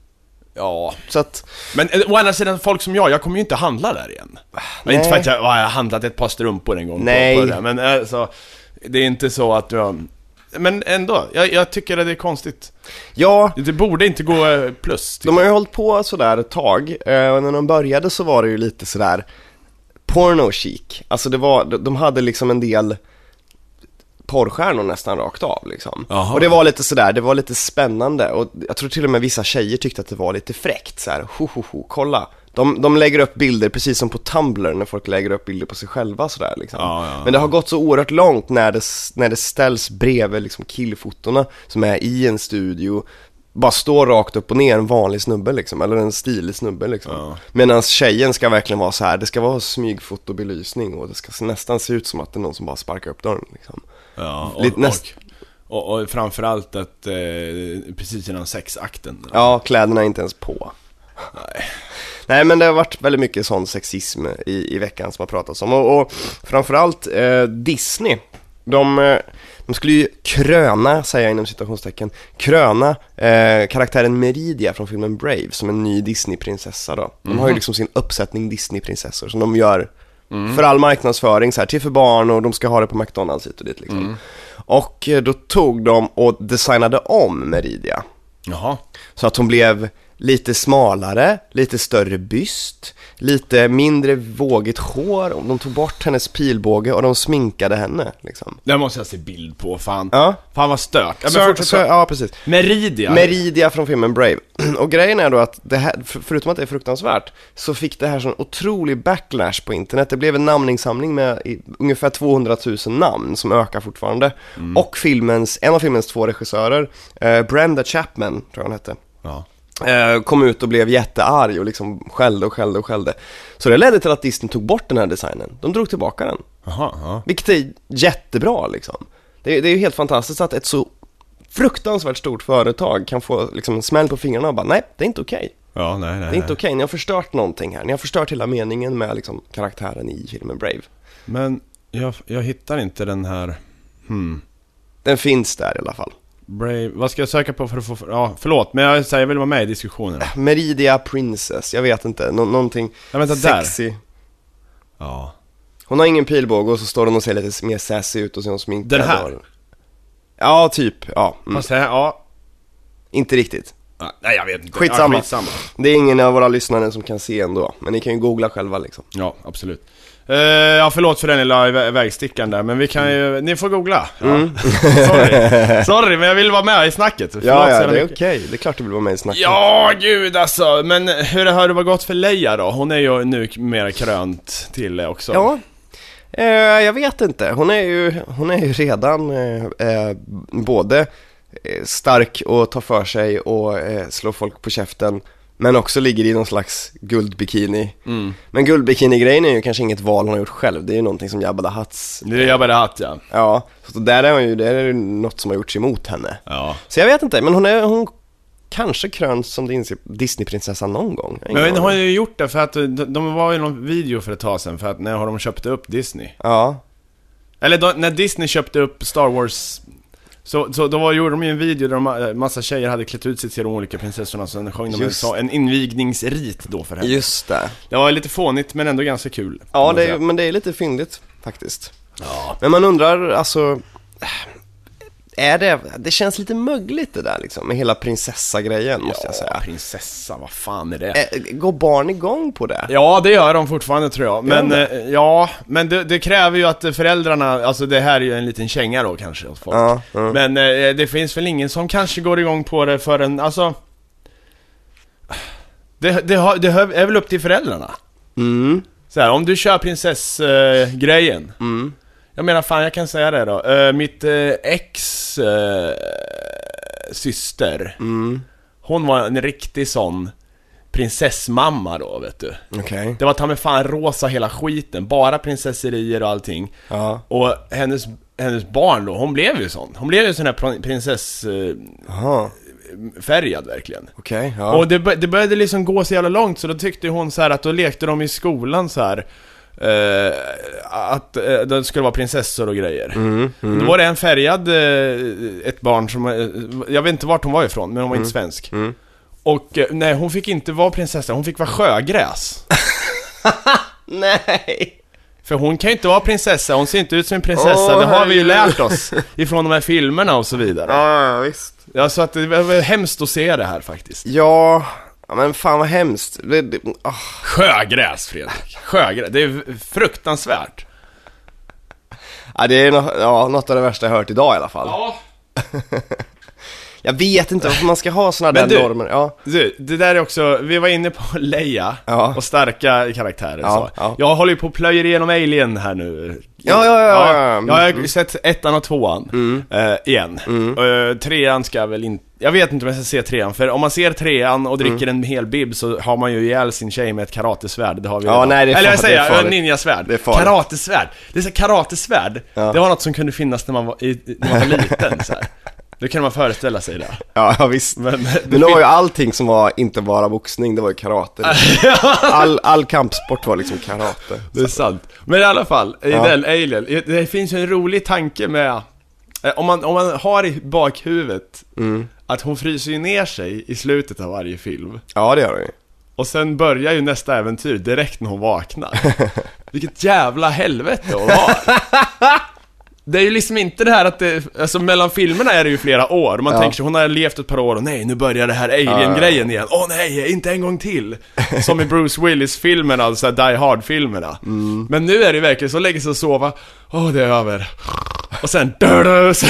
Speaker 2: ja.
Speaker 3: Så att,
Speaker 2: Men eh, å andra sidan, folk som jag, jag kommer ju inte handla där igen. Men inte för
Speaker 3: Nej.
Speaker 2: att jag, ja, jag har handlat ett par strumpor en gång
Speaker 3: Nej.
Speaker 2: På, på det där. Men alltså, det är inte så att jag... Men ändå, jag, jag tycker att det är konstigt.
Speaker 3: ja,
Speaker 2: Det borde inte gå eh, plus. tycker
Speaker 3: De har ju hållit på sådär ett tag, eh, och när de började så var det ju lite sådär porno chic. Alltså det var, de- de hade liksom en del porrstjärnor nästan rakt av liksom.
Speaker 2: Jaha.
Speaker 3: Och det var lite sådär, det var lite spännande och jag tror till och med vissa tjejer tyckte att det var lite fräckt såhär, ho, ho, ho, kolla. De, de lägger upp bilder precis som på Tumblr när folk lägger upp bilder på sig själva sådär liksom.
Speaker 2: Ja, ja, ja.
Speaker 3: Men det har gått så oerhört långt när det, s- när det ställs bredvid liksom killfotona som är i en studio bara står rakt upp och ner en vanlig snubbe liksom, eller en stilig snubbe liksom.
Speaker 2: Ja.
Speaker 3: Medan tjejen ska verkligen vara så här, det ska vara smygfotobelysning och det ska se- nästan se ut som att det är någon som bara sparkar upp dörren liksom.
Speaker 2: Ja, och,
Speaker 3: Lite
Speaker 2: och,
Speaker 3: näst-
Speaker 2: och, och framförallt att eh, precis innan sexakten.
Speaker 3: Ja, kläderna är inte ens på. Nej men det har varit väldigt mycket sån sexism i, i veckan som har pratats om och, och framförallt eh, Disney. De, eh, de skulle ju kröna, säger jag inom citationstecken, kröna eh, karaktären Meridia från filmen Brave som en ny Disney-prinsessa då. De har ju liksom sin uppsättning Disney-prinsessor som de gör för all marknadsföring så här, till för barn och de ska ha det på McDonalds hit och dit liksom. Och eh, då tog de och designade om Meridia.
Speaker 2: Jaha.
Speaker 3: Så att hon blev lite smalare, lite större byst, lite mindre vågigt hår. Och De tog bort hennes pilbåge och de sminkade henne. Liksom.
Speaker 2: Det måste jag se bild på, fan.
Speaker 3: Ja.
Speaker 2: Fan vad stört. Ja,
Speaker 3: Så-
Speaker 2: men fortsätt.
Speaker 3: så- ja, precis.
Speaker 2: Meridia.
Speaker 3: Meridia från filmen Brave. Och grejen är då att det här, för- förutom att det är fruktansvärt, så fick det här sån otrolig backlash på internet. Det blev en namninsamling med i, ungefär 200 000 namn som ökar fortfarande. Och filmens, en av filmens två regissörer, eh, Brenda Chapman, tror jag hon hette.
Speaker 2: ja.
Speaker 3: Eh, kom ut och blev jättearg och liksom skällde och skällde och skällde. Så det ledde till att Disney tog bort den här designen. De drog tillbaka den.
Speaker 2: Jaha, ja.
Speaker 3: Vilket är jättebra liksom. Det, det är ju helt fantastiskt att ett så fruktansvärt stort företag kan få liksom en smäll på fingrarna och bara nej, det är inte okej.
Speaker 2: Ja, nej, nej.
Speaker 3: Det är inte okej, ni har förstört någonting här. Ni har förstört hela meningen med liksom karaktären i filmen Brave.
Speaker 2: Men jag, jag hittar inte den här... Hmm.
Speaker 3: Den finns där i alla fall.
Speaker 2: Brave. Vad ska jag söka på för att få... Ja, förlåt. Men jag, så här, jag vill vara med i diskussionerna.
Speaker 3: Meridia Princess, jag vet inte, Nå- någonting
Speaker 2: Ja, vänta, där.
Speaker 3: sexy.
Speaker 2: Ja.
Speaker 3: Hon har ingen pilbåge och så står hon och ser lite mer sassy ut och så är hon sminkad
Speaker 2: Den här?
Speaker 3: och- Ja, typ, ja, mm.
Speaker 2: Fast här, ja.
Speaker 3: inte riktigt
Speaker 2: Ja, Nej, jag vet inte.
Speaker 3: Skitsamma.
Speaker 2: Ja, skitsamma.
Speaker 3: Det är ingen av våra lyssnare som kan se ändå, men ni kan ju googla själva liksom
Speaker 2: Ja, absolut. Eh, ja, förlåt för den lilla vä- vägstickan där, men vi kan ju... Ni får googla. Ja. Sorry. Sorry, men jag vill vara med i snacket. Förlåt så
Speaker 3: Mm. Ja, ja,
Speaker 2: jävla
Speaker 3: det är
Speaker 2: mycket.
Speaker 3: okej, det är klart du vill vara med i snacket
Speaker 2: Ja, gud alltså. Men hur har det varit gått för Leia då? Hon är ju numera krönt till också.
Speaker 3: Ja. Eh, jag vet inte, hon är ju, hon är ju redan eh, eh, både eh, stark och tar för sig och eh, slår folk på käften Men också ligger i någon slags guldbikini.
Speaker 2: Mm.
Speaker 3: Men guldbikini-grejen är ju kanske inget val hon har gjort själv, det är ju någonting som Jabba the Hutts,
Speaker 2: Det är Jabba the Hutt ja.
Speaker 3: ja. Så där är hon ju, där är det ju något som har gjorts emot henne.
Speaker 2: ja.
Speaker 3: Så jag vet inte, men hon är, hon kanske kröns som Dis- Disneyprinsessa någon gång. Jag har ingen
Speaker 2: Men hon
Speaker 3: aning.
Speaker 2: har ju gjort det för att de, de var ju någon video för ett tag sedan för att när har de köpt upp Disney?
Speaker 3: Ja,
Speaker 2: Eller då, när Disney köpte upp Star Wars så, så då var, gjorde de ju en video där de, eh, massa tjejer hade klätt ut sig till de olika prinsessorna, sen sjöng de en,
Speaker 3: Just.
Speaker 2: så, en invigningsrit då för henne.
Speaker 3: just det.
Speaker 2: Det var lite fånigt men ändå ganska kul. kan
Speaker 3: Ja,
Speaker 2: man
Speaker 3: det är,
Speaker 2: säga.
Speaker 3: men det är lite fyndigt faktiskt. Men man undrar, alltså, är det, det känns lite mögligt det där liksom, med hela prinsessa-grejen måste jag
Speaker 2: Ja,
Speaker 3: säga.
Speaker 2: prinsessa, vad fan är det?
Speaker 3: Eh, Går barn igång på det?
Speaker 2: Ja, det gör de fortfarande tror jag. Men,
Speaker 3: Gör
Speaker 2: eh, ja, men det, det kräver ju att eh, föräldrarna, alltså det här är ju en liten känga då kanske åt folk.
Speaker 3: Ja, ja.
Speaker 2: Men eh, det finns väl ingen som kanske går igång på det förrän, alltså... Det, det, har- det hör- är väl upp till föräldrarna?
Speaker 3: Mm.
Speaker 2: Så här, om du kör prinsessgrejen.
Speaker 3: Mm.
Speaker 2: jag menar fan, jag kan säga det då. Eh, mitt eh, ex eh, syster,
Speaker 3: Mm.
Speaker 2: hon var en riktig sån prinsessmamma då, vet du.
Speaker 3: Okej.
Speaker 2: Det var ta mig fan rosa hela skiten, bara prinsesserier och allting.
Speaker 3: Ja.
Speaker 2: Och hennes, hennes barn då, hon blev ju sån. Hon blev ju sån här eh, pr- prinsessfärgad
Speaker 3: Jaha.
Speaker 2: verkligen.
Speaker 3: Okej. Ja.
Speaker 2: Och det, bör- det började liksom gå så jävla långt så då tyckte hon så här att då lekte de i skolan så här. eh, att eh, det skulle vara prinsessor och grejer.
Speaker 3: Mm. Mm.
Speaker 2: Då var det en färgad, eh, ett barn som, eh, jag vet inte vart hon var ifrån, men hon var inte svensk.
Speaker 3: Mm.
Speaker 2: Och eh, nej, hon fick inte vara prinsessa, hon fick vara sjögräs.
Speaker 3: Nej.
Speaker 2: För hon kan ju inte vara prinsessa, hon ser inte ut som en prinsessa,
Speaker 3: Åh,
Speaker 2: det har vi ju
Speaker 3: herregud.
Speaker 2: lärt oss ifrån de här filmerna och så vidare.
Speaker 3: Ja, ja, visst.
Speaker 2: Ja, så att det var var hemskt att se det här faktiskt.
Speaker 3: Ja, ja, men fan vad hemskt. Det, det, ah.
Speaker 2: Sjögräs Fredrik, sjögräs, det är fruktansvärt.
Speaker 3: ja, det är nå- ja, något av det värsta jag hört idag i alla fall.
Speaker 2: Ja.
Speaker 3: Jag vet inte varför man ska ha såna där
Speaker 2: Men du-
Speaker 3: normer. Ja.
Speaker 2: Du, det där är också, vi var inne på Leia
Speaker 3: Ja.
Speaker 2: och starka karaktärer
Speaker 3: Ja,
Speaker 2: så.
Speaker 3: ja.
Speaker 2: Jag håller ju på och plöjer igenom Alien här nu.
Speaker 3: Ja, ja, ja, Mm. ja, ja.
Speaker 2: Jag har ju sett ettan och tvåan, eh, igen.
Speaker 3: Mm.
Speaker 2: Eh, trean ska jag väl inte, jag vet inte om jag ska se trean, för om man ser trean och dricker
Speaker 3: Mm.
Speaker 2: en hel bib så har man ju ihjäl sin tjej med ett karatesvärd, det har vi
Speaker 3: Ja,
Speaker 2: redan.
Speaker 3: nej, det är
Speaker 2: Eller jag
Speaker 3: farligt, det är
Speaker 2: säger,
Speaker 3: farligt.
Speaker 2: ninjasvärd.
Speaker 3: Det är farligt.
Speaker 2: Karatesvärd. Det är så här, karatesvärd, det var något som kunde finnas när man var, i, i- när man var liten så här. Det kunde man föreställa sig det.
Speaker 3: Ja, ja, visst.
Speaker 2: Men,
Speaker 3: Men då var ju allting som var inte bara boxning, det var ju karate. All, all kampsport var liksom karate.
Speaker 2: Det är sant. Men i alla fall, i den Alien, det finns ju en rolig tanke med... eh, Om man, om man har i bakhuvudet att hon fryser ju ner sig i slutet av varje film.
Speaker 3: Ja, det gör det ju.
Speaker 2: Och sen börjar ju nästa äventyr direkt när hon vaknar. Vilket jävla helvete hon har. Det är ju liksom inte det här att det, alltså mellan filmerna är det ju flera år, man tänker sig hon har levt ett par år och nej nu börjar det här alien-grejen igen, åh nej, inte en gång till! Som i Bruce Willis-filmerna, alltså Die Hard-filmerna.
Speaker 3: Mm.
Speaker 2: Men nu är det ju verkligen så, lägger sig och sova, åh det är över. Och sen dö, så,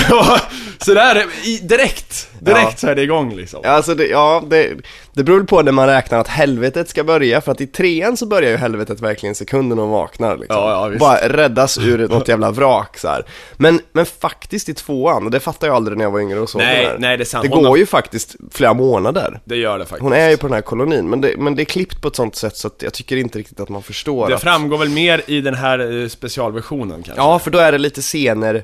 Speaker 2: så där, är det i- direkt, direkt
Speaker 3: Ja.
Speaker 2: så är det igång liksom.
Speaker 3: Ja, Alltså det, ja, det, det beror på när man räknar att helvetet ska börja, för att i trean så börjar ju helvetet verkligen sekunden hon vaknar liksom.
Speaker 2: Ja, ja, visst.
Speaker 3: Bara räddas ur något jävla vrak så här. Men, men faktiskt i tvåan, och det fattar jag aldrig när jag var yngre och såg
Speaker 2: Nej,
Speaker 3: det där.
Speaker 2: nej, det är sant.
Speaker 3: Det
Speaker 2: Hon
Speaker 3: går
Speaker 2: har-
Speaker 3: ju faktiskt flera månader.
Speaker 2: Det gör det faktiskt.
Speaker 3: Hon är ju på den här kolonin, men det, men det är klippt på ett sånt sätt så att jag tycker inte riktigt att man förstår
Speaker 2: Det
Speaker 3: att...
Speaker 2: framgår väl mer i den här eh, specialversionen kanske?
Speaker 3: Ja, för då är det lite scener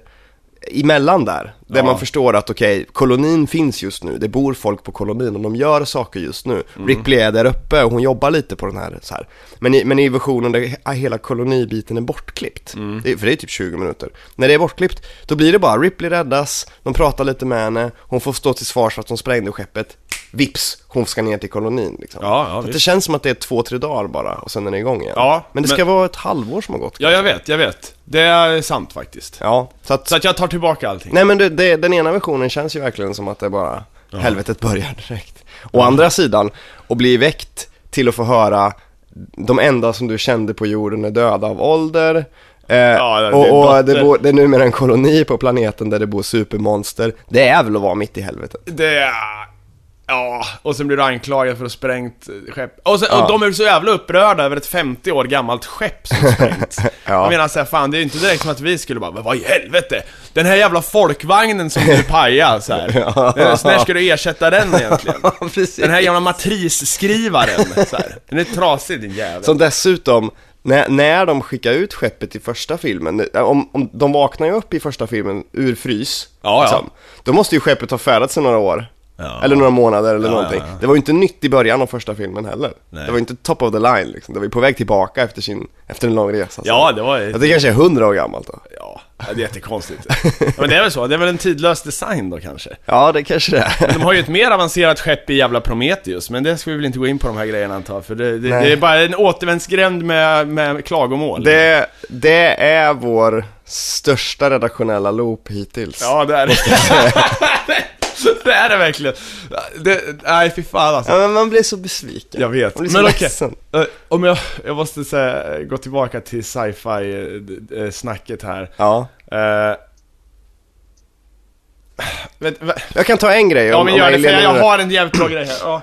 Speaker 3: emellan där. Där
Speaker 2: Ja.
Speaker 3: man förstår att okej, kolonin finns just nu, det bor folk på kolonin och de gör saker just nu.
Speaker 2: Mm.
Speaker 3: Ripley är där uppe och hon jobbar lite på den här så här. Men i, men i versionen där he- hela kolonibiten är bortklippt,
Speaker 2: Mm.
Speaker 3: det, är- för det är typ 20 minuter. När det är bortklippt, då blir det bara Ripley räddas, de pratar lite med henne, hon får stå till svars för att hon sprängde skeppet, vips, hon ska ner till kolonin liksom.
Speaker 2: Ja, ja,
Speaker 3: Så att det
Speaker 2: visst.
Speaker 3: känns som att det är två, tre dagar bara och sen är det igång igen.
Speaker 2: Ja,
Speaker 3: men det
Speaker 2: men-
Speaker 3: ska vara ett halvår som har gått.
Speaker 2: Ja, jag vet, jag vet. Det är sant faktiskt.
Speaker 3: Ja, så att
Speaker 2: Så att jag tar tillbaka allting.
Speaker 3: Nej men det, det, den ena versionen känns ju verkligen som att det bara, helvetet börjar direkt. Å andra sidan, att bli väckt till att få höra de enda som du kände på jorden är döda av ålder. Eh,
Speaker 2: det är
Speaker 3: och och
Speaker 2: botten.
Speaker 3: det, bor, det är numera en koloni på planeten där det bor supermonster. Det är väl att vara mitt i helvetet.
Speaker 2: Det är... Ja, Ja, och sen blir du anklagad för att ha sprängt eh, skepp. Och, sen, och de är så jävla upprörda över ett 50 år gammalt skepp som sprängt. Jag menar såhär, fan det är ju inte direkt som att vi skulle bara, "Men vad i helvete? Den här jävla folkvagnen som du pajade såhär. Eh, så När ska du ersätta den egentligen?
Speaker 3: Precis.
Speaker 2: Den här gamla matrisskrivaren så här. Den är trasig din jävel.
Speaker 3: Som dessutom, när, när de skickar ut skeppet i första filmen, eh, om, om de vaknar ju upp i första filmen ur frys, liksom,
Speaker 2: Ja, ja.
Speaker 3: då måste ju skeppet ha färdats i några år.
Speaker 2: Ja.
Speaker 3: Eller några månader eller
Speaker 2: Ja,
Speaker 3: någonting.
Speaker 2: ja, ja.
Speaker 3: Det var ju inte nytt i början av första filmen heller.
Speaker 2: Nej.
Speaker 3: Det var ju inte top of the line liksom. Det var ju på väg tillbaka efter, sin, efter en lång resa. så.
Speaker 2: Ja, det var ju...
Speaker 3: Ja, det kanske är hundra år gammalt då.
Speaker 2: Ja, det är jättekonstigt. Ja, men det är väl så, det är väl en tidlös design då kanske.
Speaker 3: Ja, det kanske det är.
Speaker 2: De har ju ett mer avancerat skepp i jävla Prometheus, men det ska vi väl inte gå in på de här grejerna antar jag, för det, det,
Speaker 3: Nej.
Speaker 2: det är bara en återvändsgränd med, med klagomål.
Speaker 3: Det, det är vår största redaktionella loop hittills.
Speaker 2: Ja, det är det. det är det verkligen. Det, nej, fy fan alltså.
Speaker 3: Ja, men man blir så besviken.
Speaker 2: Jag vet.
Speaker 3: Man blir så
Speaker 2: Men okej.
Speaker 3: ledsen.
Speaker 2: Eh, Om jag, jag måste säga, gå tillbaka till sci-fi eh, d- eh, snacket här.
Speaker 3: Ja.
Speaker 2: Eh, vet, vet,
Speaker 3: Jag kan ta en grej
Speaker 2: ja men gör det, för
Speaker 3: Alien
Speaker 2: jag, jag
Speaker 3: Universe.
Speaker 2: har en jävligt bra grej här. Ja,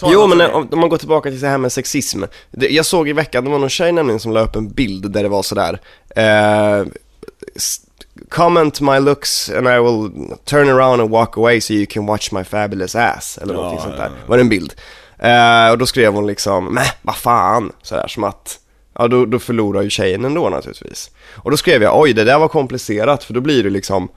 Speaker 2: ta
Speaker 3: Jo
Speaker 2: den.
Speaker 3: men eh, om, om man går tillbaka till det här med sexism. Det, jag såg i veckan, det var någon tjej nämligen som la upp en bild där det var sådär eh, s- Comment my looks and I will turn around and walk away so you can watch my fabulous ass eller
Speaker 2: Ja,
Speaker 3: någonting sånt
Speaker 2: ja,
Speaker 3: där. Var det en bild. Eh, och då skrev hon liksom, men vad fan, sådär som att Ja då, då förlorar ju tjejen ändå naturligtvis. Och då skrev jag, oj det där var komplicerat för då blir det liksom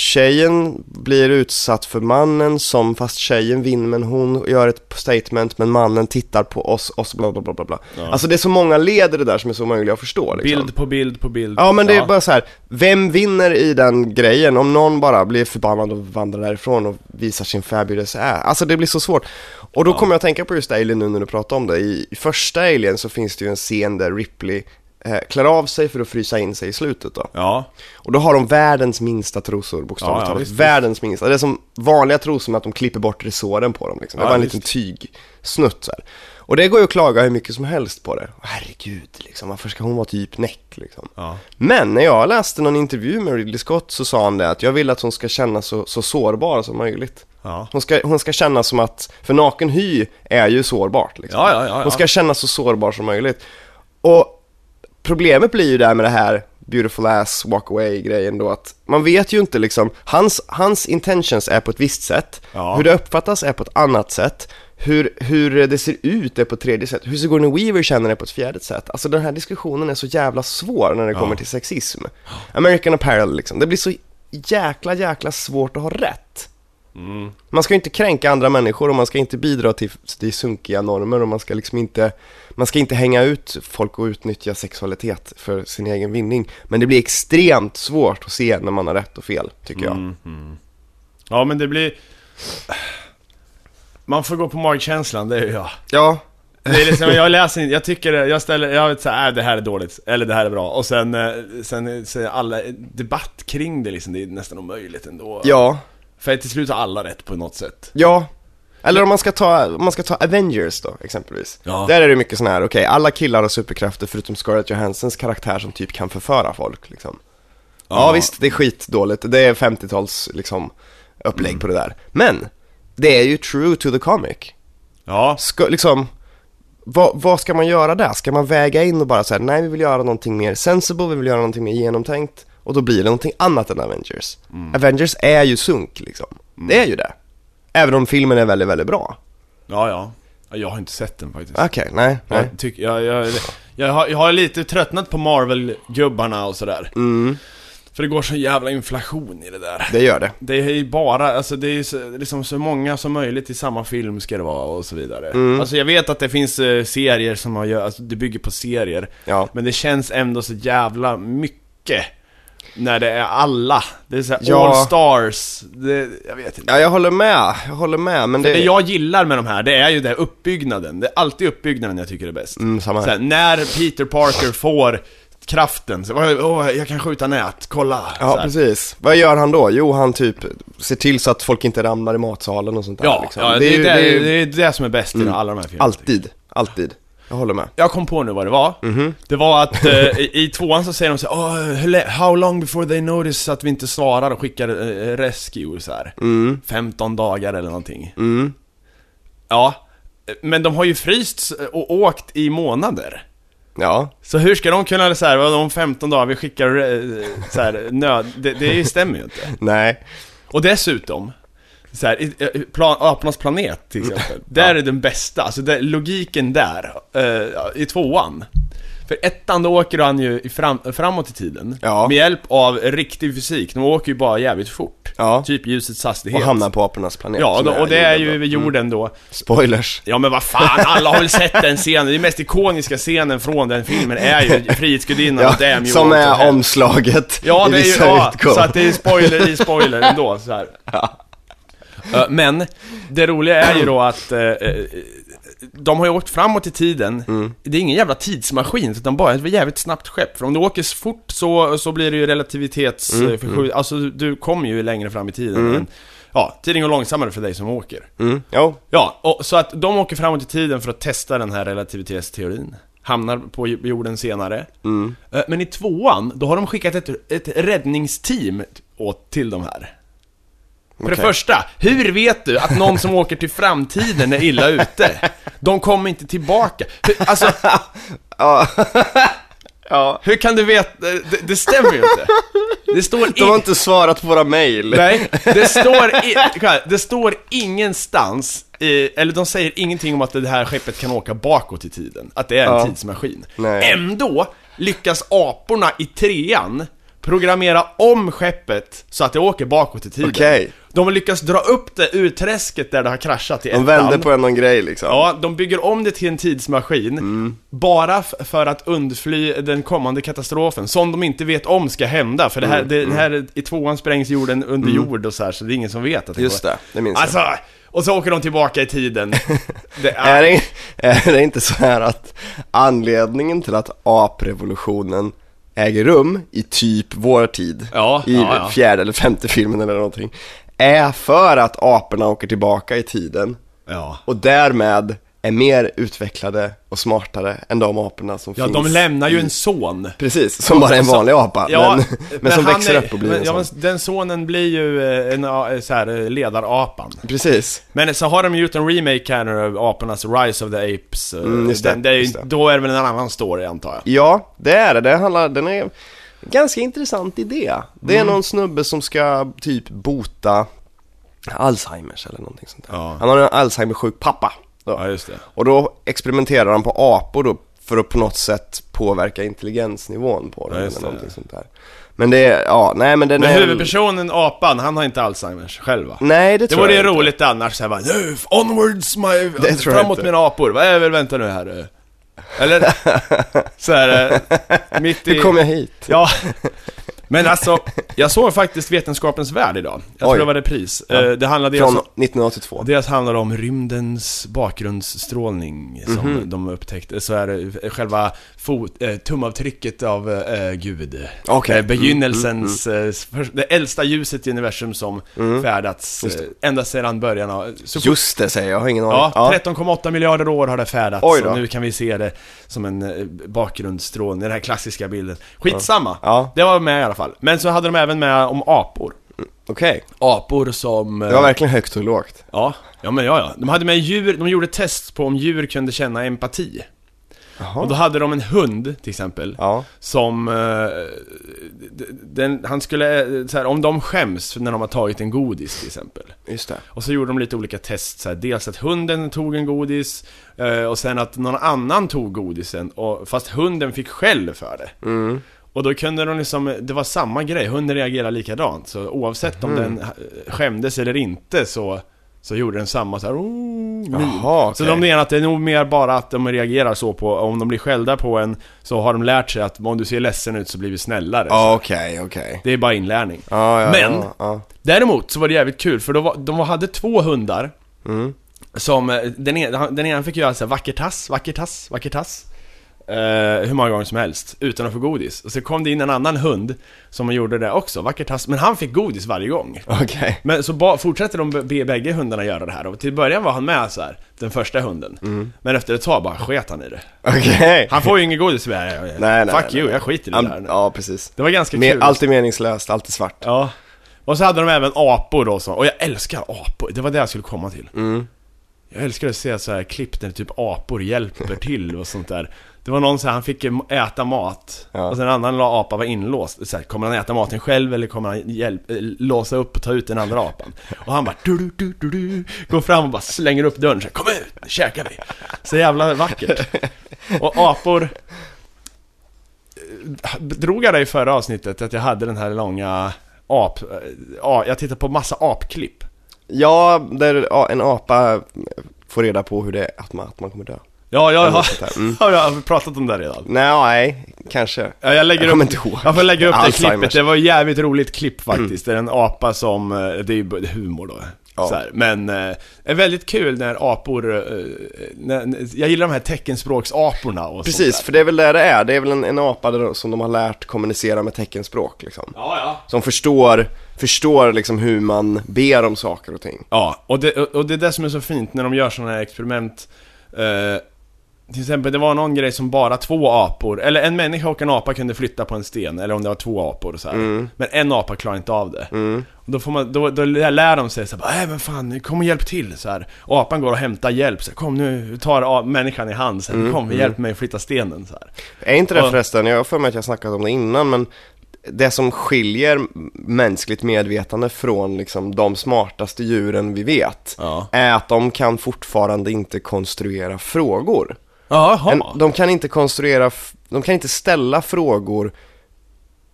Speaker 3: Tjejen blir utsatt för mannen som, fast tjejen vinner men hon gör ett statement men mannen tittar på oss, oss bla bla bla bla bla. Alltså det är så många led i det där som är så omöjliga att förstå liksom.
Speaker 2: Bild på bild på bild.
Speaker 3: Ja men det är bara så här. vem vinner i den grejen om någon bara blir förbannad och vandrar därifrån och visar sin fabulous ass? Alltså det blir så svårt. Och då kommer jag att tänka på just Alien nu när du pratar om det. I, i första Alien så finns det ju en scen där Ripley eh, klär av sig för att frysa in sig i slutet då.
Speaker 2: Ja.
Speaker 3: Och då har de världens minsta trosor
Speaker 2: Ja,
Speaker 3: bokstavligt
Speaker 2: ja,
Speaker 3: talat.
Speaker 2: visst, visst.
Speaker 3: världens minsta. Det är som vanliga trosor med att de klipper bort resåren på dem liksom. Det
Speaker 2: Ja,
Speaker 3: var en
Speaker 2: visst.
Speaker 3: liten tygsnutt så här. Och det går ju att klaga hur mycket som helst på det. Herregud liksom, varför ska hon vara typ näck liksom?
Speaker 2: Ja.
Speaker 3: Men när jag läste någon intervju med Ridley Scott så sa han det att jag vill att hon ska känna så, så sårbar som möjligt.
Speaker 2: Ja.
Speaker 3: Hon ska, hon ska känna som att, för naken hy är ju sårbart liksom.
Speaker 2: Ja, ja, ja, ja.
Speaker 3: Hon ska känna så sårbar som möjligt. Och problemet blir ju där med det här beautiful ass walk away grejen då att man vet ju inte liksom, hans, hans intentions är på ett visst sätt,
Speaker 2: Ja.
Speaker 3: hur det uppfattas är på ett annat sätt, hur, hur det ser ut är på ett tredje sätt, hur Sigourney Weaver känner är på ett fjärde sätt. Alltså den här diskussionen är så jävla svår när det kommer till sexism. American Apparel liksom, det blir så jäkla jäkla svårt att ha rätt.
Speaker 2: Mm.
Speaker 3: Man ska ju inte kränka andra människor och man ska inte bidra till, till sunkiga normer och man ska liksom inte Man ska inte hänga ut folk och utnyttja sexualitet för sin egen vinning Men det blir extremt svårt att se när man har rätt och fel, tycker jag
Speaker 2: Ja men det blir... Man får gå på magkänslan, det är ju jag.
Speaker 3: Ja,
Speaker 2: Det är liksom, jag läser inte, jag tycker det, jag ställer, jag vet såhär, äh, det här är dåligt, eller det här är bra. Och sen, eh, sen så alla, debatt kring det liksom, det är nästan omöjligt ändå.
Speaker 3: ja,
Speaker 2: För till slut har alla rätt på något sätt.
Speaker 3: ja eller om man ska ta, om man ska ta Avengers då, exempelvis.
Speaker 2: Ja.
Speaker 3: Där är det mycket sån här, okej, alla killar har superkrafter förutom Scarlett Johansens karaktär som typ kan förföra folk liksom. Ja, visst, det är skitdåligt. Det är 50-tals liksom, upplägg på det där. Men, det är ju true to the comic.
Speaker 2: Ja.
Speaker 3: Ska, liksom, vad, vad ska man göra där? Ska man väga in och bara säga nej vi vill göra någonting mer sensible, vi vill göra någonting mer genomtänkt och då blir det någonting annat än Avengers.
Speaker 2: Mm.
Speaker 3: Avengers är ju sunk liksom. Det är ju det. Även om filmen är väldigt, väldigt bra.
Speaker 2: Ja, ja. Ja, Jag har inte sett den faktiskt.
Speaker 3: Okej, nej, nej.
Speaker 2: Jag, tycker, jag, jag, jag, har, jag har lite tröttnat på Marvel-gubbarna och sådär.
Speaker 3: Mm.
Speaker 2: För det går så jävla inflation i det där.
Speaker 3: Det gör det.
Speaker 2: Det är ju bara, alltså det är ju så, liksom så många som möjligt i samma film ska det vara och så vidare.
Speaker 3: Mm.
Speaker 2: Alltså jag vet att det finns eh, serier som har, gör- alltså det bygger på serier.
Speaker 3: Ja.
Speaker 2: Men det känns ändå så jävla mycket. När det är alla. Det är såhär
Speaker 3: Ja.
Speaker 2: all stars. Det, jag vet inte.
Speaker 3: Ja, jag håller med. Jag håller med, men det...
Speaker 2: Det jag gillar med de här, det är ju det här uppbyggnaden. Det är alltid uppbyggnaden jag tycker är bäst.
Speaker 3: Mm, samma här.
Speaker 2: Såhär, när Peter Parker får kraften, så "Åh, åh, jag kan skjuta nät, kolla!
Speaker 3: Ja,
Speaker 2: Såhär.
Speaker 3: precis. Vad gör han då? Jo, han typ ser till så att folk inte ramlar i matsalen och sånt där
Speaker 2: Ja,
Speaker 3: liksom.
Speaker 2: ja det, är
Speaker 3: ju-
Speaker 2: det, det,
Speaker 3: ju- Mm.
Speaker 2: är, det som är bäst i alla de här filmerna.
Speaker 3: Alltid, alltid. Jag håller med.
Speaker 2: Jag kom på nu vad det var.
Speaker 3: Mm-hmm.
Speaker 2: Det var att eh, i, i tvåan så säger de så här, "Ah, hur lä- How long before they notice att vi inte
Speaker 3: Mm.
Speaker 2: svarar och skickar eh, rescue så här. 15 dagar eller någonting. Ja, men de har ju frysts och åkt i månader.
Speaker 3: Ja,
Speaker 2: Så hur ska de kunna så här, vadå, om 15 dagar vi skickar eh, så här, nöd, det, det stämmer ju inte.
Speaker 3: nej.
Speaker 2: Och dessutom, så här, i- eh, plan, apornas planet till exempel, där är den bästa, alltså där, logiken där, eh, i tvåan. För ettan då åker han ju i fram, framåt i tiden,
Speaker 3: Ja.
Speaker 2: med hjälp av riktig fysik, de åker ju bara jävligt fort.
Speaker 3: Ja.
Speaker 2: Typ ljusets hastighet.
Speaker 3: Och hamnar på apornas planet.
Speaker 2: Ja,
Speaker 3: som
Speaker 2: då, och det är ju
Speaker 3: jorden
Speaker 2: vid
Speaker 3: då. Mm.
Speaker 2: jorden då.
Speaker 3: Spoilers.
Speaker 2: Ja men vad fan, alla har väl sett den scenen, den mest ikoniska scenen från den filmen är ju Frihetsgudinnan
Speaker 3: Ja,
Speaker 2: och Damn you
Speaker 3: som
Speaker 2: want to
Speaker 3: är
Speaker 2: hell.
Speaker 3: omslaget
Speaker 2: Ja,
Speaker 3: i
Speaker 2: det är ju,
Speaker 3: vissa
Speaker 2: ja,
Speaker 3: utgåvor.
Speaker 2: så att det är spoiler i spoiler ändå så här. Eh, Men, det roliga är ju då att eh, eh, de har ju åkt framåt i tiden,
Speaker 3: Mm.
Speaker 2: det är ingen jävla tidsmaskin utan bara ett jävligt snabbt skepp. För om du åker så fort så, så blir det ju relativitets...
Speaker 3: Mm,
Speaker 2: eh, förskjut- Alltså du kommer ju längre fram i tiden. Men, ja, tiden går långsammare för dig som åker.
Speaker 3: Mm. Jo,
Speaker 2: Ja, och, så att de åker framåt i tiden för att testa den här relativitetsteorin. Hamnar på j- jorden senare.
Speaker 3: Mm.
Speaker 2: Eh, Men i tvåan, då har de skickat ett, ett räddningsteam t- åt, till de här. För det
Speaker 3: Okej.
Speaker 2: första, hur vet du att någon som åker till framtiden är illa ute? De kommer inte tillbaka. Hur, alltså,
Speaker 3: ja.
Speaker 2: hur kan du veta? Det, det stämmer ju inte. Det står
Speaker 3: De har inte svarat på våra mejl.
Speaker 2: Nej, det står, i, kolla, det står ingenstans, i, eller de säger ingenting om att det här skeppet kan åka bakåt i tiden, att det är en
Speaker 3: Ja.
Speaker 2: tidsmaskin.
Speaker 3: Nej.
Speaker 2: Ändå lyckas aporna i trean programmera om skeppet så att det åker bakåt i tiden.
Speaker 3: Okej.
Speaker 2: De har lyckats dra upp det ur träsket där det har kraschat i
Speaker 3: De vände på en någon grej liksom.
Speaker 2: Ja, de bygger om det till en tidsmaskin, bara f- för att undfly den kommande katastrofen, som de inte vet om ska hända, för det
Speaker 3: Mm,
Speaker 2: här, det, det här i tvåan sprängs jorden under jord och så här, så det är ingen som vet att det
Speaker 3: Just
Speaker 2: går.
Speaker 3: det, det minns jag.
Speaker 2: Alltså, och så åker de tillbaka i tiden. Det
Speaker 3: Är, det, är det inte så här att anledningen till att aprevolutionen äger rum i typ vår tid,
Speaker 2: Ja,
Speaker 3: i
Speaker 2: ja, ja.
Speaker 3: fjärde eller femte filmen eller någonting, är för att aporna åker tillbaka i tiden
Speaker 2: Ja.
Speaker 3: och därmed är mer utvecklade och smartare än de aporna som
Speaker 2: ja,
Speaker 3: finns.
Speaker 2: de lämnar ju
Speaker 3: i-
Speaker 2: en son.
Speaker 3: Precis, som bara är en vanlig apa, men, men, som
Speaker 2: han
Speaker 3: växer
Speaker 2: är-
Speaker 3: upp och blir
Speaker 2: men,
Speaker 3: en
Speaker 2: ja,
Speaker 3: sån.
Speaker 2: men Den sonen blir ju eh, en a- eh, så här, eh, ledarapan.
Speaker 3: Precis.
Speaker 2: Men så har de ju gjort en remake här nu av apornas Rise of the Apes. eh,
Speaker 3: Mm, just det,
Speaker 2: den, det är ju,
Speaker 3: just det.
Speaker 2: Då är det väl en annan story antar jag.
Speaker 3: Ja, det är det. det handlar, den är en ganska intressant idé. Det
Speaker 2: Mm.
Speaker 3: är någon snubbe som ska typ bota Alzheimers eller någonting sånt där.
Speaker 2: Ja.
Speaker 3: Han har en Alzheimersjuk pappa. Då.
Speaker 2: Ja, just det.
Speaker 3: Och då experimenterar han på apor då för att på något sätt påverka intelligensnivån på dem
Speaker 2: Ja, just
Speaker 3: eller
Speaker 2: det.
Speaker 3: någonting sånt där. Men det är, ja, nej men den
Speaker 2: Men
Speaker 3: är...
Speaker 2: huvudpersonen, apan, han har inte Alzheimers själv va?
Speaker 3: Nej, det
Speaker 2: Det
Speaker 3: tror
Speaker 2: vore
Speaker 3: jag
Speaker 2: ju
Speaker 3: inte.
Speaker 2: roligt annars såhär bara "Nu, onwards my...
Speaker 3: Det tror jag
Speaker 2: framåt
Speaker 3: inte.
Speaker 2: mina apor, vad är väl vänta nu här eh." Eller? såhär, eh, mitt i...
Speaker 3: Hur kom jag hit?
Speaker 2: Ja. Men alltså, jag såg faktiskt Vetenskapens Värld idag. Jag tror
Speaker 3: Oj.
Speaker 2: det var repris. Eh, Det handlade
Speaker 3: Från
Speaker 2: alltså...
Speaker 3: 1982.
Speaker 2: Dels handlar det om rymdens bakgrundsstrålning som
Speaker 3: Mhm.
Speaker 2: de upptäckte, så är det själva fot, eh, tumavtrycket av eh, Gud.
Speaker 3: Okej. Mm,
Speaker 2: Eh, begynnelsens, eh, för- det äldsta ljuset i universum som färdats eh, ända sedan början av... Så fort-
Speaker 3: Just det säger jag, jag har ingen aning.
Speaker 2: Ja, 13,8 miljarder år har det färdats
Speaker 3: Oj då.
Speaker 2: och nu kan vi se det som en eh, bakgrundsstrålning, den här klassiska bilden. Skitsamma!
Speaker 3: Ja.
Speaker 2: Det var med i alla fall. Men så hade de även med om apor.
Speaker 3: Okej.
Speaker 2: Apor som... eh,
Speaker 3: Det var verkligen högt och lågt.
Speaker 2: Ja, ja men ja, ja. De hade med djur, de gjorde test på om djur kunde känna empati. Och då hade de en hund till exempel,
Speaker 3: Ja.
Speaker 2: som... eh, d- den, han skulle, eh, så här, om de skäms när de har tagit en godis till exempel.
Speaker 3: Just det.
Speaker 2: Och så gjorde de lite olika test, så här, dels att hunden tog en godis, eh, och sen att någon annan tog godisen, och, fast hunden fick skäll för det.
Speaker 3: Mm.
Speaker 2: Och då kunde de liksom, det var samma grej, hunden reagerade likadant. Så oavsett
Speaker 3: Mhm.
Speaker 2: om den eh, skämdes eller inte så, så gjorde den samma så här, "Ooh", min.
Speaker 3: Jaha,
Speaker 2: Så
Speaker 3: okej.
Speaker 2: de menar att det är nog mer bara att de reagerar så på, om de blir skällda på en, så har de lärt sig att om du ser ledsen ut så blir vi snällare.
Speaker 3: Ja, Okej, okej.
Speaker 2: Det är bara inlärning.
Speaker 3: Ja, ja,
Speaker 2: Men,
Speaker 3: ja, ja.
Speaker 2: Däremot så var det jävligt kul för de, var, de hade två hundar
Speaker 3: Mm.
Speaker 2: Som, eh, den, ena- han- den ena fick göra såhär vacker tass, vacker tass, vacker tass eh, Hur många gånger som helst, utan att få godis Och så kom det in en annan hund Som gjorde det också, vacker tass, men han fick godis varje gång
Speaker 3: Okej.
Speaker 2: men så ba, fortsätter de b- be bägge hundarna göra det här och till början var han med så här, den första hunden
Speaker 3: Mm.
Speaker 2: Men efter ett tag bara sket han i det
Speaker 3: Okej.
Speaker 2: Han får ju inget godis, nej,
Speaker 3: Nej, nej,
Speaker 2: fuck
Speaker 3: nej,
Speaker 2: you,
Speaker 3: nej.
Speaker 2: jag skiter i det
Speaker 3: Han-
Speaker 2: där
Speaker 3: Ja, precis.
Speaker 2: Det var ganska
Speaker 3: Mer,
Speaker 2: kul
Speaker 3: allt är meningslöst, allt är svart.
Speaker 2: Ja. Och så hade de även apor då, så, och jag älskar apor, det var det jag skulle komma till. Jag älskar att se så här klipp där typ apor hjälper till och sånt där. Det var någon så här, han fick äta mat
Speaker 3: Ja.
Speaker 2: och sen en annan la- apa var inlåst. Så här, kommer han äta maten själv eller kommer han hjälp, eh, låsa upp och ta ut den andra apan? Och han bara du, du, du, du, du, går fram och bara slänger upp dörren så här, kom ut, nu käkar vi. Så jävla vackert. Och apor eh, drog jag dig i förra avsnittet att jag hade den här långa ap... Ja, jag tittar på massa apklipp.
Speaker 3: Ja, där ja, en apa får reda på hur det är, att man, att man kommer dö.
Speaker 2: Ja, jag
Speaker 3: Eller
Speaker 2: har,
Speaker 3: något sånt där. Mm.
Speaker 2: har jag pratat om det redan.
Speaker 3: Nej, nej, kanske.
Speaker 2: Ja, jag lägger
Speaker 3: Jag
Speaker 2: upp,
Speaker 3: kommer inte ihåg.
Speaker 2: jag får lägga upp det
Speaker 3: Alzheimers. Mm.
Speaker 2: klippet, det var ett jävligt roligt klipp faktiskt. Det är en apa som, eh, det är ju b- humor då.
Speaker 3: Ja.
Speaker 2: Så här. Men eh, det är väldigt kul när apor, eh, när, när- jag gillar de här teckenspråksaporna och
Speaker 3: Precis,
Speaker 2: sånt
Speaker 3: för det är väl där det är. Det är väl en, en apa där, som de har lärt kommunicera med teckenspråk liksom.
Speaker 2: där. Ja, ja.
Speaker 3: Som förstår, förstår liksom hur man ber om saker och ting.
Speaker 2: Ja, och det, och och det är det som är så fint när de gör sådana här experiment. Eh, till exempel, det var någon grej som bara två apor, eller en människa och en apa kunde flytta på en sten, eller om det var två apor så här. Men en apa klarar inte av det. Och då, får man, då, då lär de sig så här, bara, "Äh, men fan, nu kom och hjälp till så här. Och apan går och hämtar hjälp, så här, kom nu, tar a- människan i hand, så här, kom, hjälp mig att flytta stenen så här.
Speaker 3: Är inte det
Speaker 2: Ja.
Speaker 3: förresten, jag har för mig att jag har snackat om det innan, men det som skiljer mänskligt medvetande från liksom de smartaste djuren vi vet
Speaker 2: Ja.
Speaker 3: är att de kan fortfarande inte konstruera frågor.
Speaker 2: Jaha.
Speaker 3: En, de kan inte konstruera, f- de kan inte ställa frågor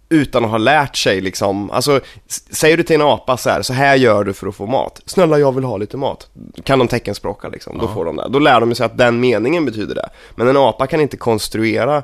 Speaker 3: utan att ha lärt sig liksom, alltså s- säger du till en apa så här, så här gör du för att få mat. Snälla jag vill ha lite mat. Kan de teckenspråka liksom, då får de det. Då lär de sig att den meningen betyder det. Men en apa kan inte konstruera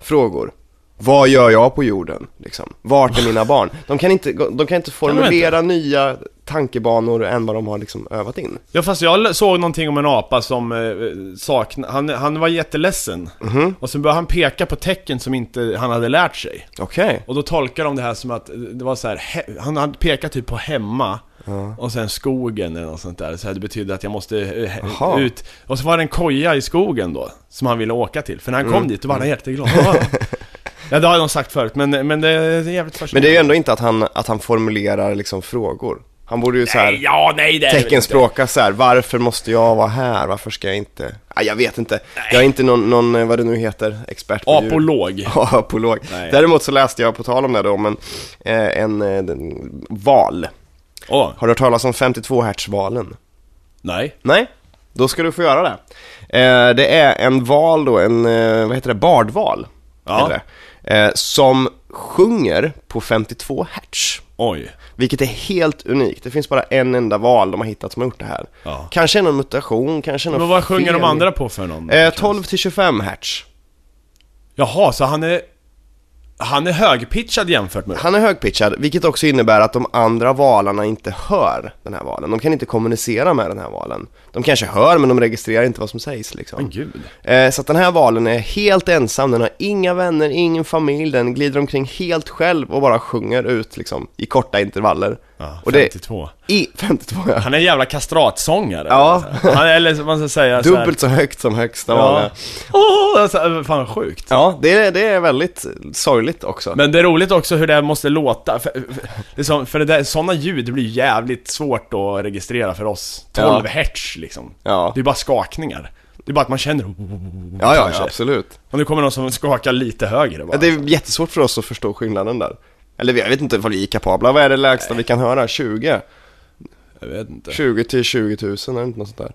Speaker 3: frågor. Vad gör jag på jorden? Liksom. Vart är mina barn? De kan inte, de kan inte formulera nya tankebanor än vad de har liksom övat in.
Speaker 2: Ja fast jag l- såg någonting om en apa som eh, saknade, han, han var jätteledsen.
Speaker 3: Mhm.
Speaker 2: Och sen började han peka på tecken som inte han hade lärt sig.
Speaker 3: Okej.
Speaker 2: Och då tolkar de det här som att eh, det var så här, he- han hade pekat typ på hemma. Och sen skogen eller något sånt där, så här, det betydde att jag måste eh, he-
Speaker 3: Jaha.
Speaker 2: ut. Och så var det en koja i skogen då, som han ville åka till. För när han kom
Speaker 3: Mm.
Speaker 2: dit, då var han jätteglad. Ja. ja det har de sagt förut, men, men det är jävligt
Speaker 3: Men det är
Speaker 2: fascinerande.
Speaker 3: ju ändå inte att han, att han formulerar liksom frågor. Han borde ju så här...
Speaker 2: Nej, ja, nej det är det väl inte.
Speaker 3: teckenspråka så här, varför måste jag vara här? Varför ska jag inte? Ah, jag vet inte. Jag är inte någon, någon, eh, vad det nu heter, expert på djur.
Speaker 2: Apolog.
Speaker 3: Ja, apolog.
Speaker 2: Nej.
Speaker 3: Däremot så läste jag, på tal om det då, men eh, en, eh, den, val.
Speaker 2: Åh,
Speaker 3: Har du hört talas om 52 hertzvalen?
Speaker 2: nej.
Speaker 3: Nej? Då ska du få göra det. Eh, det är en val då, en, eh, vad heter det, bardval.
Speaker 2: Ja.
Speaker 3: heter det, eh, som sjunger på 52 hertz.
Speaker 2: Oj.
Speaker 3: Vilket är helt unikt. Det finns bara en enda val de har hittat som har gjort det här.
Speaker 2: Ja.
Speaker 3: Kanske någon mutation, kanske någon
Speaker 2: Men vad sjunger de
Speaker 3: fel.
Speaker 2: andra på för någon?
Speaker 3: Eh, 12 till 25 hertz.
Speaker 2: Jaha, så han är... Han är högpitchad jämfört med...
Speaker 3: Han är högpitchad, vilket också innebär att de andra valarna inte hör den här valen. De kan inte kommunicera med den här valen. De kanske hör, men de registrerar inte vad som sägs liksom.
Speaker 2: Men gud.
Speaker 3: Eh, så att den här valen är helt ensam, den har inga vänner, ingen familj, den glider omkring helt själv och bara sjunger ut liksom i korta intervaller.
Speaker 2: Ja,
Speaker 3: och det,
Speaker 2: 52.
Speaker 3: i 52 ja.
Speaker 2: Han är en jävla kastratsångare.
Speaker 3: Ja.
Speaker 2: Han, är- eller vad man ska säga så här-
Speaker 3: Dubbelt så högt som högsta
Speaker 2: Ja.
Speaker 3: valen.
Speaker 2: Åh, oh, fan vad sjukt.
Speaker 3: Ja, det är, det är väldigt sorgligt också.
Speaker 2: Men det är roligt också hur det här måste låta. För, för, det är som- för det där, sådana ljud blir jävligt svårt att registrera för oss. 12
Speaker 3: Ja.
Speaker 2: hertz liksom.
Speaker 3: Ja.
Speaker 2: Det är bara skakningar. Det är bara att man känner...
Speaker 3: ja, ja,
Speaker 2: kanske. alltså.
Speaker 3: ja, absolut.
Speaker 2: Och nu kommer någon som skakar lite högre
Speaker 3: Ja,
Speaker 2: bara.
Speaker 3: det är jättesvårt för oss att förstå skillnaden där. Eller jag vet inte ifall vi är kapabla. Vad är det lägsta vi kan höra? 20?
Speaker 2: Jag vet inte.
Speaker 3: 20 till 20 000 eller inte något sånt där.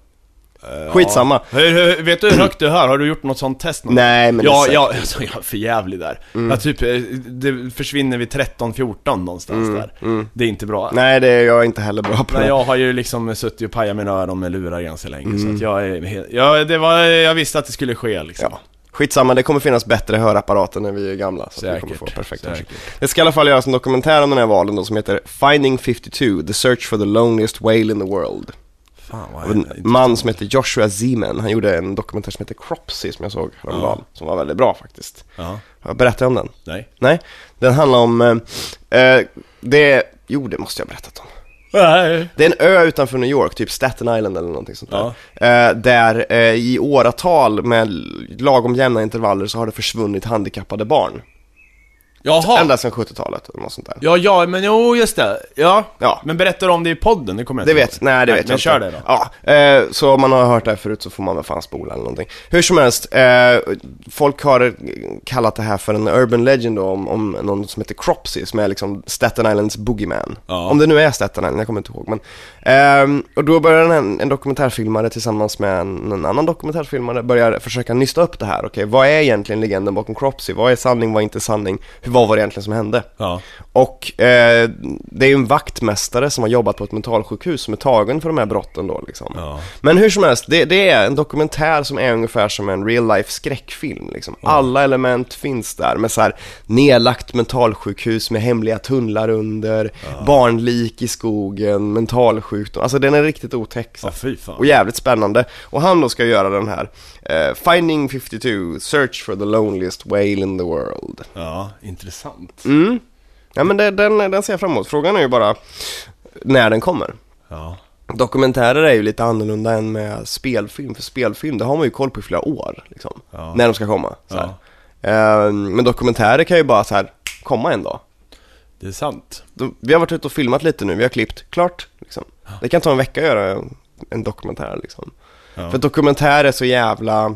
Speaker 3: Eh, Skitsamma.
Speaker 2: Hur, hur, vet du hur högt du hör? Har du gjort något sånt test någon
Speaker 3: Nej, men det är
Speaker 2: ja,
Speaker 3: säkert- Mm.
Speaker 2: ja, alltså, jag är för jävlig där. Jag typ, eh, det försvinner vid 13-14 någonstans där. Det är inte bra.
Speaker 3: Mm, Nej, det är jag inte heller bra på.
Speaker 2: Men
Speaker 3: det.
Speaker 2: jag har ju liksom suttit och pajat mina öron med lurar ganska länge så att jag är helt, jag, det var, jag visste att det skulle ske liksom.
Speaker 3: Mm. Ja. Skitsamma, det kommer finnas bättre hörapparater när vi är gamla. Så att vi kommer
Speaker 2: Säkert,
Speaker 3: få perfekt
Speaker 2: säkert.
Speaker 3: hörsel. Det ska i alla fall göras en dokumentär om den här valen då, som heter Finding 52, The Search for the Loneliest Whale in the World.
Speaker 2: Fan vad
Speaker 3: av en man som heter Joshua Zeman. Han gjorde en dokumentär som heter Cropsy som jag såg häromdagen, som var väldigt bra faktiskt.
Speaker 2: Ja,
Speaker 3: Jag berättade om den.
Speaker 2: nej.
Speaker 3: Nej, den handlar om, eh, eh, det, jo det måste jag ha berättat om.
Speaker 2: Nej.
Speaker 3: Det är en ö utanför New York, typ Staten Island eller någonting sånt där.
Speaker 2: Ja.
Speaker 3: Eh, där eh, i åratal med lagom jämna intervaller så har det försvunnit handikappade barn.
Speaker 2: Jaha!
Speaker 3: Ända sedan 70-talet eller något sånt där.
Speaker 2: Ja, ja, men jo, just det. Ja.
Speaker 3: Ja.
Speaker 2: Men berättar du om det i podden? Det kommer jag
Speaker 3: Det
Speaker 2: inte
Speaker 3: vet,
Speaker 2: ihåg.
Speaker 3: nej det vet
Speaker 2: men
Speaker 3: jag
Speaker 2: kör
Speaker 3: inte.
Speaker 2: det då.
Speaker 3: Ja, eh, så om man har hört det här förut så får man väl fan spola eller någonting. Hur som helst, eh, folk har kallat det här för en urban legend då, om, om någon som heter Cropsy som är liksom Staten Islands boogeyman.
Speaker 2: Ja.
Speaker 3: Om det nu är Staten Island, jag kommer inte ihåg men. ehm, och då börjar en, en dokumentärfilmare tillsammans med en, en annan dokumentärfilmare börjar försöka nysta upp det här. Okej, vad är egentligen legenden bakom Cropsy? Vad är sanning, vad är inte sanning? Hur, vad var det egentligen som hände?
Speaker 2: Ja.
Speaker 3: Och eh, det är ju en vaktmästare som har jobbat på ett mentalsjukhus som är tagen för de här brotten då liksom.
Speaker 2: Ja.
Speaker 3: Men hur som helst, det, det är en dokumentär som är ungefär som en real life skräckfilm liksom. Alla element finns där med så här nedlagt mentalsjukhus med hemliga tunnlar under, barnlik i skogen, mentalsjukdom. Alltså den är riktigt otäck. så
Speaker 2: Ja,
Speaker 3: här.
Speaker 2: fy fan.
Speaker 3: Och jävligt spännande. Och han då ska göra den här eh, Finding 52, Search for the loneliest whale in the world.
Speaker 2: Ja, intressant.
Speaker 3: Mm. Ja men det, den, den ser jag fram emot. Frågan är ju bara när den kommer.
Speaker 2: Ja.
Speaker 3: Dokumentärer är ju lite annorlunda än med spelfilm, för spelfilm det har man ju koll på i flera år. Liksom,
Speaker 2: Ja.
Speaker 3: När de ska komma. Så här.
Speaker 2: ja,
Speaker 3: Ehm, men dokumentärer kan ju bara så här komma en dag.
Speaker 2: det är sant.
Speaker 3: De, vi har varit ute och filmat lite nu, vi har klippt, klart. Liksom. Det kan ta en vecka att göra en dokumentär. Liksom.
Speaker 2: Ja.
Speaker 3: För dokumentär är så jävla,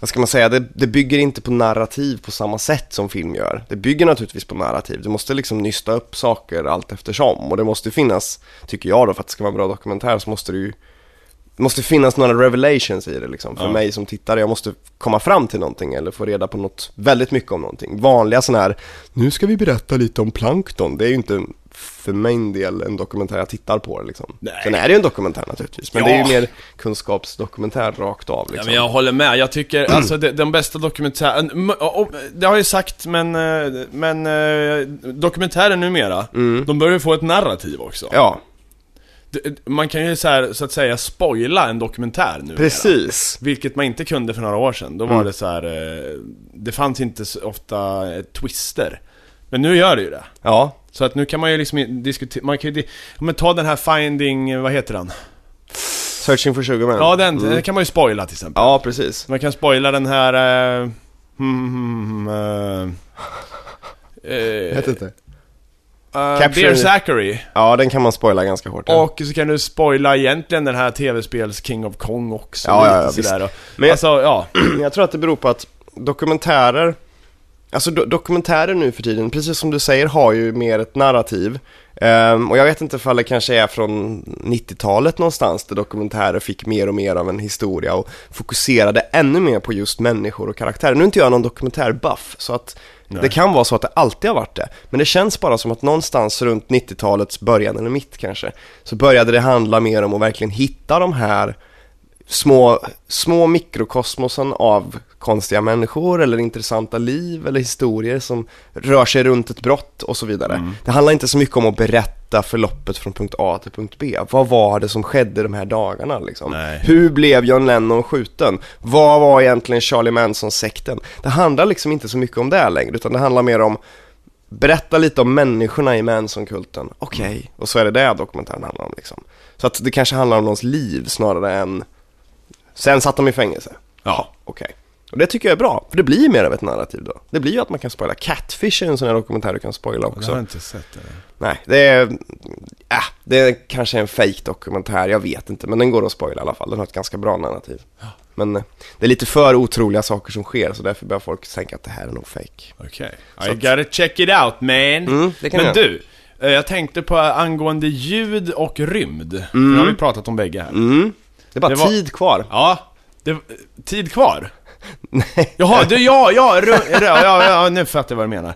Speaker 3: vad ska man säga, det, det bygger inte på narrativ på samma sätt som film gör. Det bygger naturligtvis på narrativ, du måste liksom nysta upp saker allt eftersom. Och det måste finnas, tycker jag då, för att det ska vara en bra dokumentär så måste det ju det måste finnas några revelations i det liksom, för
Speaker 2: Ja.
Speaker 3: mig som tittare. Jag måste komma fram till någonting eller få reda på något, väldigt mycket om någonting. Vanliga sådana här, nu ska vi berätta lite om plankton. Det är ju inte för min del en dokumentär jag tittar på liksom.
Speaker 2: Nej.
Speaker 3: Sen är det ju en dokumentär naturligtvis, men det är ju
Speaker 2: Ja.
Speaker 3: mer kunskapsdokumentär rakt av
Speaker 2: Ja,
Speaker 3: liksom.
Speaker 2: men jag håller med, jag tycker
Speaker 3: Mm.
Speaker 2: alltså de, de bästa dokumentären, m- och- och- det har jag ju sagt men, eh, men eh, dokumentärer numera, de börjar ju få ett narrativ också.
Speaker 3: Mm. Ja,
Speaker 2: D- Man kan ju så, här, så att säga spoila en dokumentär numera.
Speaker 3: precis.
Speaker 2: Vilket man inte kunde för några år sedan, då var
Speaker 3: Mm.
Speaker 2: det så här. eh, Det fanns inte så ofta eh, twister Men nu gör det ju det
Speaker 3: Ja,
Speaker 2: Så att nu kan man ju liksom diskutera, man kan ju di- ja, men ta den här finding, eh, vad heter den?
Speaker 3: Searching for Sugar Man.
Speaker 2: Ja den, den kan man ju spoila till exempel
Speaker 3: ja precis.
Speaker 2: Man kan spoila den här... eh, hmm, hmm, eh, eh,
Speaker 3: vet inte.
Speaker 2: eh,
Speaker 3: Capture-
Speaker 2: Dear Zachary
Speaker 3: Ja, den kan man spoila ganska hårt. ja.
Speaker 2: Och så kan du spoila egentligen den här tv-spels King of Kong också
Speaker 3: Ja, ja, ja,
Speaker 2: lite sådär.
Speaker 3: Men
Speaker 2: Men
Speaker 3: jag-
Speaker 2: alltså, ja
Speaker 3: Jag tror att det beror på att dokumentärer, alltså do dokumentärer nu för tiden, precis som du säger, har ju mer ett narrativ. Ehm, och jag vet inte ifall det kanske är från 90-talet någonstans, där dokumentärer fick mer och mer av en historia och fokuserade ännu mer på just människor och karaktärer. Nu är inte jag någon dokumentärbuff, så att det kan vara så att det alltid har varit det. Men det känns bara som att någonstans runt 90-talets början, eller mitt kanske, så började det handla mer om att verkligen hitta de här små, små mikrokosmosen av konstiga människor eller intressanta liv eller historier som rör sig runt ett brott och så vidare. Det handlar inte så mycket om att berätta förloppet från punkt A till punkt B. Vad var det som skedde de här dagarna liksom?
Speaker 2: Nej.
Speaker 3: Hur blev John Lennon skjuten? Vad var egentligen Charlie Manson-sekten? Det handlar liksom inte så mycket om det längre utan det handlar mer om Berätta lite om människorna i Manson-kulten. Okej, och så är det det dokumentären handlar om liksom. Så att det kanske handlar om någons liv snarare än... Sen satt de i fängelse.
Speaker 2: Ja
Speaker 3: Okej. Och det tycker jag är bra, för det blir mer av ett narrativ då. Det blir ju att man kan spoila. Catfish är en sån här dokumentär du kan spoila
Speaker 2: Det
Speaker 3: också.
Speaker 2: har jag inte sett det.
Speaker 3: Nej, det är... Äh, det är kanske en fake dokumentär jag vet inte. Men den går att spoila i alla fall. Den har ett ganska bra narrativ. Men eh, det är lite för otroliga saker som sker, så därför börjar folk tänka att det här är nog fake.
Speaker 2: Okej.
Speaker 3: Så
Speaker 2: I
Speaker 3: att-
Speaker 2: gotta check it out man!
Speaker 3: Mm, det kan
Speaker 2: Men
Speaker 3: jag.
Speaker 2: du, eh, jag tänkte på angående ljud och rymd. För Nu har vi pratat om bägge här.
Speaker 3: Mm. Det är bara
Speaker 2: Det var-
Speaker 3: tid kvar.
Speaker 2: Ja, det, tid kvar.
Speaker 3: Nej.
Speaker 2: Jaha, du, ja, ja, ru, ru, ja, ja, ja, nu fattar jag vad du menar.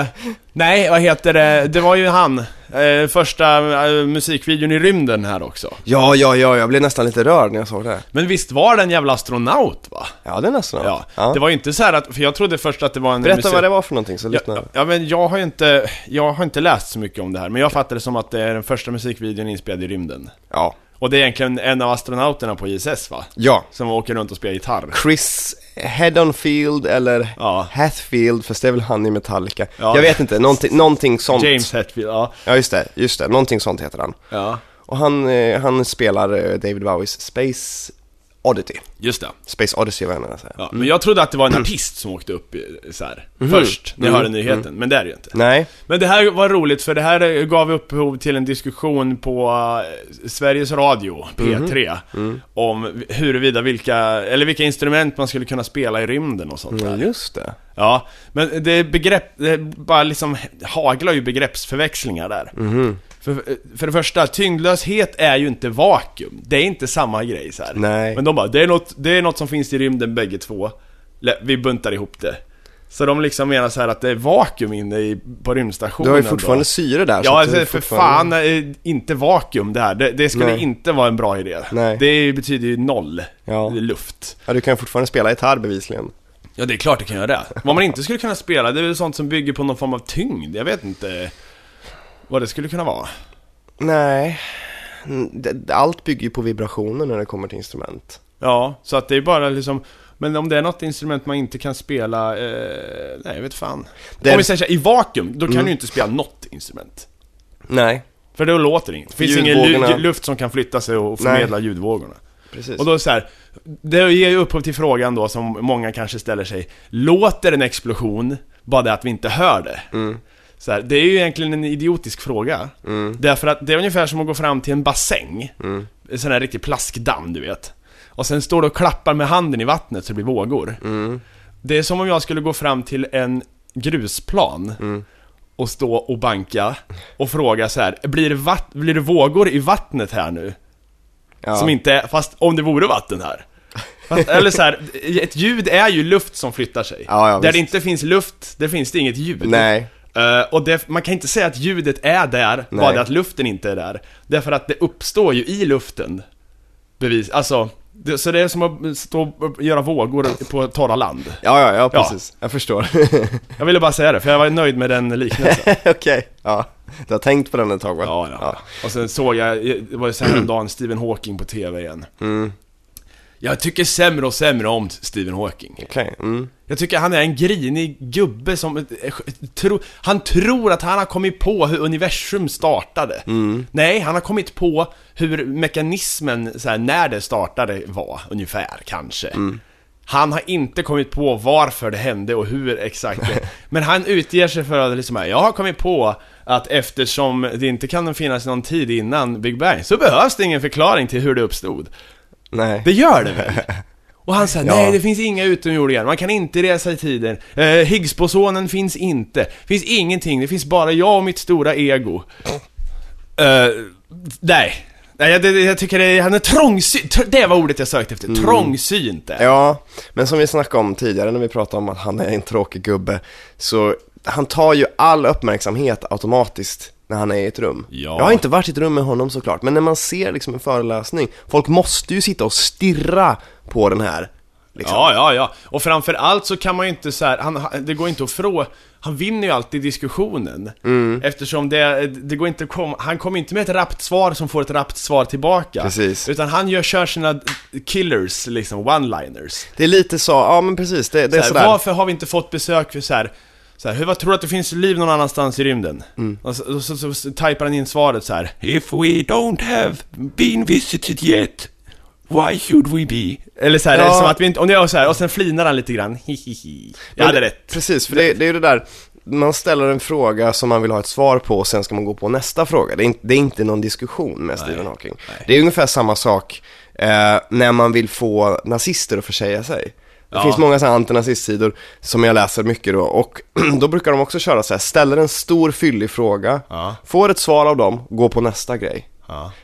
Speaker 2: Eh, nej, vad heter det? Det var ju han, eh, första eh, musikvideon i rymden här också.
Speaker 3: Ja, ja, ja, jag blev nästan lite rörd när jag såg det.
Speaker 2: Men visst var det en jävla astronaut va?
Speaker 3: Ja, det är nästan
Speaker 2: Ja, det var ju inte så här att, för jag trodde först att det var en
Speaker 3: Berätta
Speaker 2: musik-
Speaker 3: vad det var för någonting så lyssnar
Speaker 2: Ja,
Speaker 3: jag.
Speaker 2: ja men jag har ju inte, jag har inte läst så mycket om det här, men jag fattar det som att det är den första musikvideon inspelad i rymden.
Speaker 3: Ja.
Speaker 2: Och det är egentligen en av astronauterna på ISS va?
Speaker 3: ja.
Speaker 2: Som åker runt och spelar gitarr.
Speaker 3: Chris Headonfield eller
Speaker 2: Ja.
Speaker 3: Hathfield, fast det är väl han i Metallica.
Speaker 2: Ja.
Speaker 3: Jag vet inte, någonting, någonting sånt.
Speaker 2: James Hetfield, ja.
Speaker 3: Ja, just det, just det, någonting sånt heter han.
Speaker 2: ja.
Speaker 3: Och han, eh, han spelar eh, David Bowies Space Oddity.
Speaker 2: Just det. Mm.
Speaker 3: Space Odyssey var jag nära att säga.
Speaker 2: Ja, Men jag trodde att det var en artist som åkte upp i- så här, först, när jag hörde nyheten, men det är det ju inte.
Speaker 3: Nej.
Speaker 2: Men det här var roligt för det här gav upphov till en diskussion på eh, Sveriges Radio, P3, Mm. om huruvida vilka, eller vilka instrument man skulle kunna spela i rymden och sånt där.
Speaker 3: Ja, just det.
Speaker 2: Ja, men det är begrepp, det är bara liksom haglar ju begreppsförväxlingar där.
Speaker 3: Mhm.
Speaker 2: För, för det första, tyngdlöshet är ju inte vakuum. Det är inte samma grej så här.
Speaker 3: Nej.
Speaker 2: Men de bara, det är, något, det är något som finns i rymden bägge två. Lä- Vi buntar ihop det. Så de liksom menar så här att det är vakuum inne i, på rymdstationen.
Speaker 3: Du har ju
Speaker 2: då.
Speaker 3: fortfarande syre där. så
Speaker 2: Ja,
Speaker 3: att du
Speaker 2: alltså, för fan,
Speaker 3: fortfarande-
Speaker 2: eh, inte vakuum det här. Det, det skulle
Speaker 3: Nej.
Speaker 2: inte vara en bra idé.
Speaker 3: Nej.
Speaker 2: Det betyder ju noll
Speaker 3: Ja.
Speaker 2: luft.
Speaker 3: Ja, du kan fortfarande spela gitarr bevisligen.
Speaker 2: Ja, det är klart det kan göra det. Vad man inte skulle kunna spela, det är väl sånt som bygger på någon form av tyngd. Jag vet inte vad det skulle kunna vara.
Speaker 3: Nej. Mm, det- Allt bygger ju på vibrationer när det kommer till instrument.
Speaker 2: Ja, så att det är bara liksom... Men om det är något instrument man inte kan spela, eh, nej jag vet fan.
Speaker 3: Det är- Mm.
Speaker 2: Om vi säger så här, i vakuum, då kan du ju inte spela något instrument.
Speaker 3: Nej,
Speaker 2: För då låter det inte. Det finns ingen
Speaker 3: Ljudvågorna-
Speaker 2: lu- luft som kan flytta sig och förmedla ljudvågorna.
Speaker 3: precis.
Speaker 2: Och då så här, det ger ju upphov till frågan då som många kanske ställer sig. Låter en explosion bara det att vi inte hör det? Så här, det är ju egentligen en idiotisk fråga. Därför att det är ungefär som att gå fram till en bassäng. En sån här riktig plaskdamm du vet. Och sen står du och klappar med handen i vattnet så det blir vågor. Det är som om jag skulle gå fram till en grusplan och stå och banka och fråga så här, blir det, vatt- blir det vågor i vattnet här nu?
Speaker 3: Ja.
Speaker 2: Som inte är, fast om det vore vatten här. Fast, eller så här, ett ljud är ju luft som flyttar sig.
Speaker 3: Ja, ja,
Speaker 2: där
Speaker 3: visst.
Speaker 2: det inte finns luft, där finns det inget ljud.
Speaker 3: Nej.
Speaker 2: Eh, och det, man kan inte säga att ljudet är där, bara
Speaker 3: Nej.
Speaker 2: det att luften inte är där. Därför att det uppstår ju i luften. Bevis, alltså. Det, så det är som att stå och göra vågor på torra land.
Speaker 3: Ja, ja, ja,
Speaker 2: Ja.
Speaker 3: precis. Jag förstår.
Speaker 2: Jag ville bara säga det, för jag var nöjd med den liknelsen.
Speaker 3: Okej. Ja. Du har tänkt på den ett tag va?
Speaker 2: Ja, ja. Och sen såg jag, det var ju så här en dag, Stephen Hawking på TV igen. Jag tycker sämre och sämre om Stephen Hawking.
Speaker 3: Okej, mm.
Speaker 2: Jag tycker han är en grinig gubbe som... eh, Tro, han tror att han har kommit på hur universum startade. Nej, han har kommit på hur mekanismen, så här, när det startade, var ungefär, kanske. Han har inte kommit på varför det hände och hur exakt det. Men han utger sig för att liksom, jag har kommit på att eftersom det inte kan finnas någon tid innan Big Bang så behövs det ingen förklaring till hur det uppstod.
Speaker 3: Nej.
Speaker 2: Det gör det väl? Och han säger
Speaker 3: Ja.
Speaker 2: nej det finns inga utomjordingar, man kan inte resa i tiden, eh, Higgsbosonen finns inte, finns ingenting, det finns bara jag och mitt stora ego. Eh, nej. Nej, jag, det- jag tycker det, är- han är trångsynt, Tr- det var ordet jag sökte efter, trångsynt är
Speaker 3: Mm. Ja, men som vi snackade om tidigare när vi pratade om att han är en tråkig gubbe, så han tar ju all uppmärksamhet automatiskt när han är i ett rum.
Speaker 2: Ja.
Speaker 3: Jag har inte varit i ett rum med honom såklart, men när man ser liksom en föreläsning, folk måste ju sitta och stirra på den här. Liksom.
Speaker 2: Ja, ja, ja. Och framförallt så kan man ju inte så här, han, han- det går inte att frå... Han vinner ju alltid diskussionen.
Speaker 3: Mm.
Speaker 2: Eftersom det, det går inte att komma... Han kommer inte med ett rappt svar som får ett rappt svar tillbaka.
Speaker 3: Precis.
Speaker 2: Utan han gör, kör sina killers, liksom one-liners.
Speaker 3: Det är lite så, ja men precis, det, det är
Speaker 2: Så här,
Speaker 3: sådär.
Speaker 2: Varför har vi inte fått besök för så här, så här, hur, vad tror du att det finns liv någon annanstans i rymden?
Speaker 3: Mm.
Speaker 2: Och så, och så, så, så typar han in svaret så här.
Speaker 4: If we don't have been visited yet, why should we be?
Speaker 2: Eller så här,
Speaker 3: Ja.
Speaker 2: det är som att vi inte, och, jag, så här, och sen flinar han lite grann, hihihi. Jag
Speaker 3: Men
Speaker 2: hade
Speaker 3: det-
Speaker 2: rätt.
Speaker 3: Precis, för det, det är ju det där, man ställer en fråga som man vill ha ett svar på och sen ska man gå på nästa fråga. Det är inte, det är inte någon diskussion med Stephen Hawking. Det är ungefär samma sak eh, när man vill få nazister att försäga sig. Det finns många så här antinazistsidor som jag läser mycket då och då brukar de också köra så här, ställer en stor fyllig fråga, får ett svar av dem, gå på nästa grej.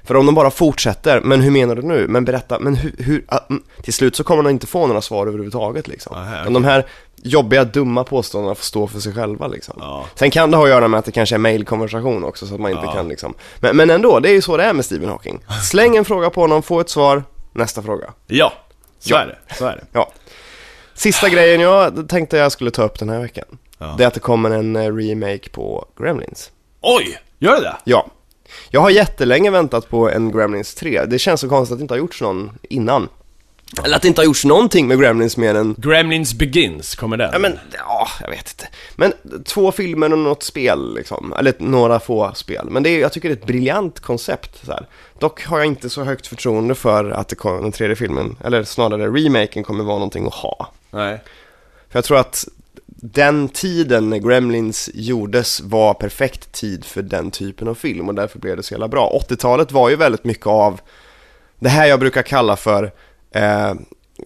Speaker 3: För om de bara fortsätter, men hur menar du nu? Men berätta, men hur, hur ah, mm. till slut så kommer de inte få några svar överhuvudtaget liksom.
Speaker 2: Aha,
Speaker 3: Men De här jobbiga, dumma påståendena får stå för sig själva liksom. Sen kan det ha att göra med att det kanske är mailkonversation också så att man inte kan liksom. Men, men ändå, det är ju så det är med Stephen Hawking. Släng en fråga på honom, få ett svar, nästa fråga.
Speaker 2: Ja, så
Speaker 3: Ja.
Speaker 2: är det. Så är det.
Speaker 3: Ja. Sista grejen jag tänkte jag skulle ta upp den här veckan. Det är att det kommer en eh, remake på Gremlins.
Speaker 2: Oj! Gör det det?
Speaker 3: Ja. Jag har jättelänge väntat på en Gremlins 3. Det känns så konstigt att det inte har gjorts någon innan. Eller att det inte har gjorts någonting med Gremlins mer än
Speaker 2: Gremlins Begins, kommer den?
Speaker 3: Ja men, ja, jag vet inte. Men två filmer och något spel liksom, eller ett- några få spel. Men det är, jag tycker det är ett briljant koncept så här. Dock har jag inte så högt förtroende för att det kom, den tredje filmen, eller snarare remaken kommer vara någonting att ha.
Speaker 2: Nej.
Speaker 3: För jag tror att den tiden när Gremlins gjordes var perfekt tid för den typen av film och därför blev det så jävla bra. 80-talet var ju väldigt mycket av det här jag brukar kalla för eh,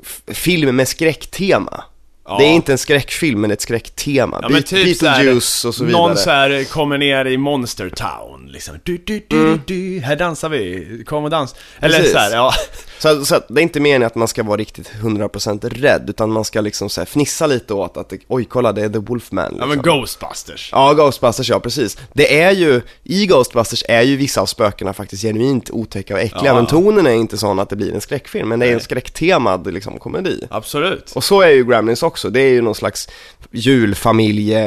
Speaker 3: f- film med skräcktema.
Speaker 2: Ja.
Speaker 3: Det är inte en skräckfilm, men ett skräcktema.
Speaker 2: Ja,
Speaker 3: Be-
Speaker 2: men typ
Speaker 3: Beetlejuice
Speaker 2: såhär,
Speaker 3: och så vidare.
Speaker 2: Någon såhär kommer ner i Monster Town liksom. Du, du, du, du, här dansar vi, kom och dans. Eller
Speaker 3: Mm. Precis. Liksom.
Speaker 2: såhär, ja.
Speaker 3: Så, så att det är inte meningen att man ska vara riktigt 100% rädd, utan man ska liksom så här fnissa lite åt att det, oj kolla det är The Wolfman liksom.
Speaker 2: Ja men Ghostbusters.
Speaker 3: Ja, Ghostbusters ja, precis. Det är ju, i Ghostbusters är ju vissa av spökena faktiskt genuint otäcka och äckliga,
Speaker 2: Ja.
Speaker 3: men tonen är inte sån att det blir en skräckfilm, men det är en skräcktemad liksom komedi.
Speaker 2: Absolut.
Speaker 3: Och så är ju Gremlins också, det är ju någon slags julfamilje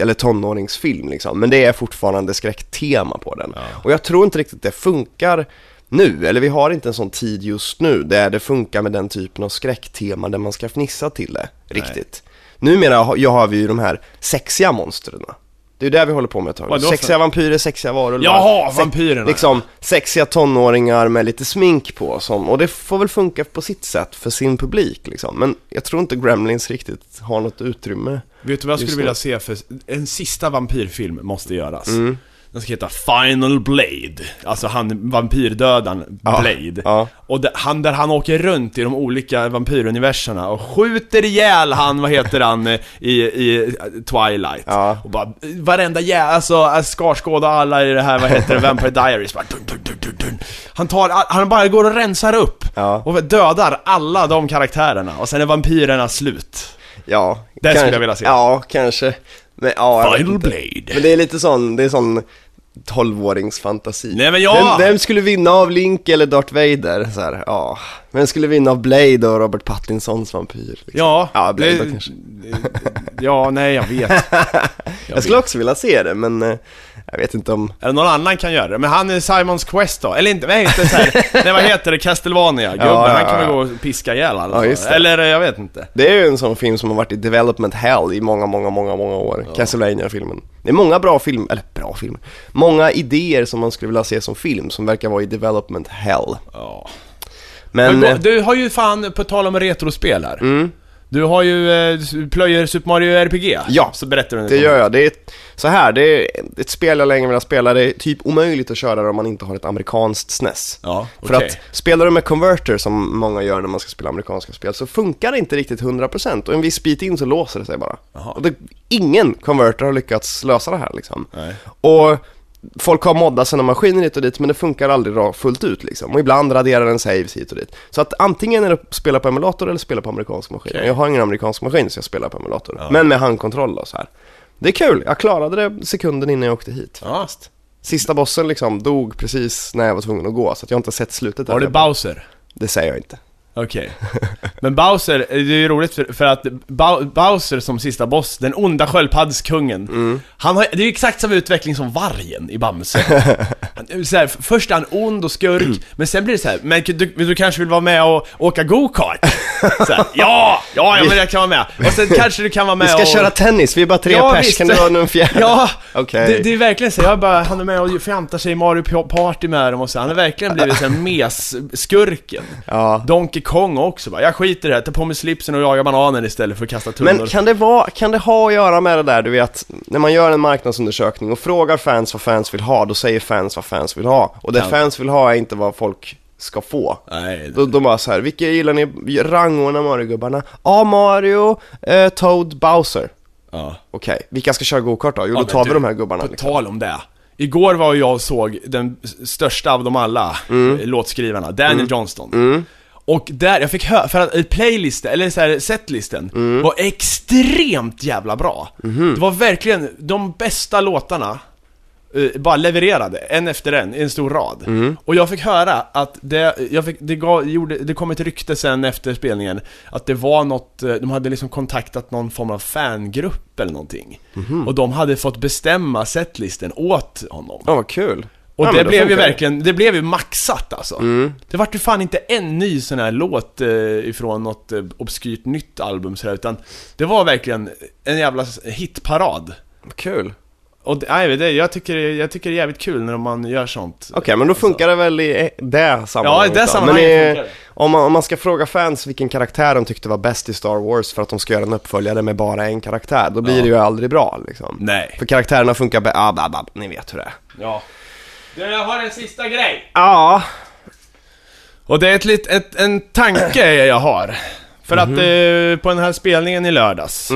Speaker 3: eller tonåringsfilm liksom, men det är fortfarande skräcktema på den. Och jag tror inte riktigt det funkar nu, eller vi har inte en sån tid just nu där det funkar med den typen av skräcktema där man ska fnissa till det riktigt. Numera har, ja, har vi ju de här sexiga monstren. Det är ju där vi håller på med ett tag.
Speaker 2: Vadå för-
Speaker 3: Sexiga vampyrer, sexiga varulvar.
Speaker 2: Jaha,
Speaker 3: Se-
Speaker 2: vampyrerna.
Speaker 3: Liksom sexiga tonåringar med lite smink på som, och det får väl funka på sitt sätt för sin publik liksom. Men jag tror inte Gremlins riktigt har något utrymme.
Speaker 2: Vet du vad jag
Speaker 3: Just
Speaker 2: skulle
Speaker 3: det. Mm.
Speaker 2: vilja se för, en sista vampyrfilm måste göras. Den ska heta Final Blade, alltså han vampyrdödaren Blade.
Speaker 3: ja.
Speaker 2: Och det, han, där han åker runt i de olika vampyruniverserna och skjuter ihjäl han, vad heter han, eh, i, i Twilight.
Speaker 3: Ja.
Speaker 2: Och bara, eh, varenda jävla, alltså eh, Skarsgård och alla i det här, vad heter det, Vampire Diaries bara, dun, dun, dun, dun, dun. Han tar, all- han bara går och rensar upp
Speaker 3: Ja.
Speaker 2: och dödar alla de karaktärerna och sen är vampyrerna slut.
Speaker 3: Ja.
Speaker 2: Det skulle jag vilja se.
Speaker 3: Ja, kanske. Men, ja, jag vet
Speaker 2: Final
Speaker 3: inte.
Speaker 2: Blade.
Speaker 3: Men det är lite sån, det är sån 12-åringsfantasi.
Speaker 2: Nej, men ja!
Speaker 3: vem, vem skulle vinna av Link eller Darth Vader? Så här, ja. Vem skulle vinna av Blade och Robert Pattinsons vampyr? Liksom?
Speaker 2: Ja,
Speaker 3: Ja, Blade då kanske.
Speaker 2: Ja, nej jag vet.
Speaker 3: jag skulle också vilja se det, men eh, jag vet inte om...
Speaker 2: Eller någon annan kan göra det, men han är Simons Quest då, eller inte, nej inte såhär, nej vad heter det, Castlevania gubben,
Speaker 3: Ja, ja,
Speaker 2: han kan väl
Speaker 3: ja.
Speaker 2: gå och piska ihjäl alla.
Speaker 3: Ja, just det.
Speaker 2: eller eh, jag vet inte.
Speaker 3: Det är ju en sån film som har varit i development hell i många, många, många, många år. Castlevania-filmen. Det är många bra filmer, eller bra filmer. Många idéer som man skulle vilja se som film som verkar vara i development hell.
Speaker 2: Ja.
Speaker 3: Men...
Speaker 2: Men,
Speaker 3: eh, Mm.
Speaker 2: du har ju fan, på tal om retrospel här. Du har ju, eh, du plöjer Super Mario RPG.
Speaker 3: Ja,
Speaker 2: Så berättar du
Speaker 3: Det gör jag. Det är ett, så här, det är ett spel jag länge velat spela. Det är typ omöjligt att köra det om man inte har ett amerikanskt SNES.
Speaker 2: Ja,
Speaker 3: För
Speaker 2: okej.
Speaker 3: att spelar du med converter som många gör när man ska spela amerikanska spel så funkar det inte riktigt 100% och en viss bit in så låser det sig bara. Och det, ingen converter har lyckats lösa det här liksom.
Speaker 2: Nej.
Speaker 3: Och folk har moddat sina maskiner hit och dit men det funkar aldrig ra- fullt ut liksom. Och ibland raderar den saves hit och dit. Så att antingen är det att spela på emulator eller spela på amerikansk maskin. Jag har ingen amerikansk maskin så jag spelar på emulator. Men med handkontroll då så här. Det är kul, jag klarade det sekunden innan jag åkte hit.
Speaker 2: Ja.
Speaker 3: Sista bossen liksom dog precis när jag var tvungen att gå så att jag har inte sett slutet
Speaker 2: Var
Speaker 3: än.
Speaker 2: det Bowser?
Speaker 3: Det säger jag inte.
Speaker 2: Okej. Men Bowser, eh, det är ju roligt för, för att Bow- Bowser som sista boss, den onda sköldpaddskungen,
Speaker 3: Mm.
Speaker 2: han har, det är ju exakt samma utveckling som vargen i Bamse. Han är så här, f- först är han ond och skurk,
Speaker 3: Mm.
Speaker 2: men sen blir det så här, men du, du kanske vill vara med och åka go-kart? Så här, ja, ja, ja men jag kan vara med. Och sen kanske du kan vara med
Speaker 3: Vi ska
Speaker 2: och...
Speaker 3: köra tennis, vi är bara tre pers, kan du vara den fjärde?
Speaker 2: Ja,
Speaker 3: Okej.
Speaker 2: det, det är verkligen så. Jag bara, han är med och fjantar sig i Mario P- Party med dem och så. Han har verkligen blivit såhär mes-skurken.
Speaker 3: Ja.
Speaker 2: Donkey Kong också bara, jag skiter i det här, ta på mig slipsen och jagar bananer istället för att kasta tunnor.
Speaker 3: Men kan det, vara, kan det ha att göra med det där, du vet, när man gör en marknadsundersökning och frågar fans vad fans vill ha, då säger fans vad fans vill ha. Och det
Speaker 2: Kan-
Speaker 3: fans vill ha är inte vad folk ska få.
Speaker 2: Nej, det-
Speaker 3: Då, de bara så här, vilka gillar ni, rangordna Mario-gubbarna? Ja, Mario, eh, Toad, Bowser.
Speaker 2: ja.
Speaker 3: Okej, vilka ska köra gokart då? Jo,
Speaker 2: Ja,
Speaker 3: då
Speaker 2: men
Speaker 3: tar vi
Speaker 2: du,
Speaker 3: de här gubbarna.
Speaker 2: På
Speaker 3: liksom.
Speaker 2: tal om det. Igår var jag och såg den s- största av dem alla,
Speaker 3: Mm.
Speaker 2: eh, låtskrivarna, Daniel Johnston. Och där, jag fick höra, för att eh, playlisten, eller så här, setlisten,
Speaker 3: Mm.
Speaker 2: var extremt jävla bra.
Speaker 3: Mhm.
Speaker 2: Det var verkligen de bästa låtarna, eh, bara levererade, en efter en, i en stor rad.
Speaker 3: Mm.
Speaker 2: Och jag fick höra att det, jag fick, det, gav, gjorde, det kom ett rykte sen efter spelningen, att det var något, eh, de hade liksom kontaktat någon form av
Speaker 3: Mhm.
Speaker 2: fangrupp eller någonting. Och de hade fått bestämma setlisten åt honom.
Speaker 3: Ja, vad kul.
Speaker 2: Och
Speaker 3: Ja, men
Speaker 2: det
Speaker 3: då
Speaker 2: blev ju
Speaker 3: funkar det. Mm.
Speaker 2: verkligen, det blev ju maxat alltså. Det vart ju fan inte en ny sån här låt eh, ifrån något eh, obskyrt nytt album sådär, utan det var verkligen en jävla s- hitparad.
Speaker 3: Vad kul.
Speaker 2: Och det, nej, det, jag, tycker, jag tycker det är jävligt kul när man gör sånt.
Speaker 3: Okej, men då funkar det väl i eh, det sammanhanget
Speaker 2: Ja, i det
Speaker 3: då.
Speaker 2: sammanhanget
Speaker 3: Men, eh,
Speaker 2: funkar det.
Speaker 3: om, man, om man ska fråga fans vilken karaktär de tyckte var bäst i Star Wars för att de ska göra en uppföljare med bara en karaktär, då blir det ju aldrig bra liksom.
Speaker 2: Nej.
Speaker 3: För karaktärerna funkar bä- ah, bah, bah, ni vet hur det är.
Speaker 2: Ja. Jag har en sista grej.
Speaker 3: Ja,
Speaker 2: Och det är ett, lit- ett, en tanke jag har. För
Speaker 3: Mhm.
Speaker 2: att eh, på den här spelningen i lördags,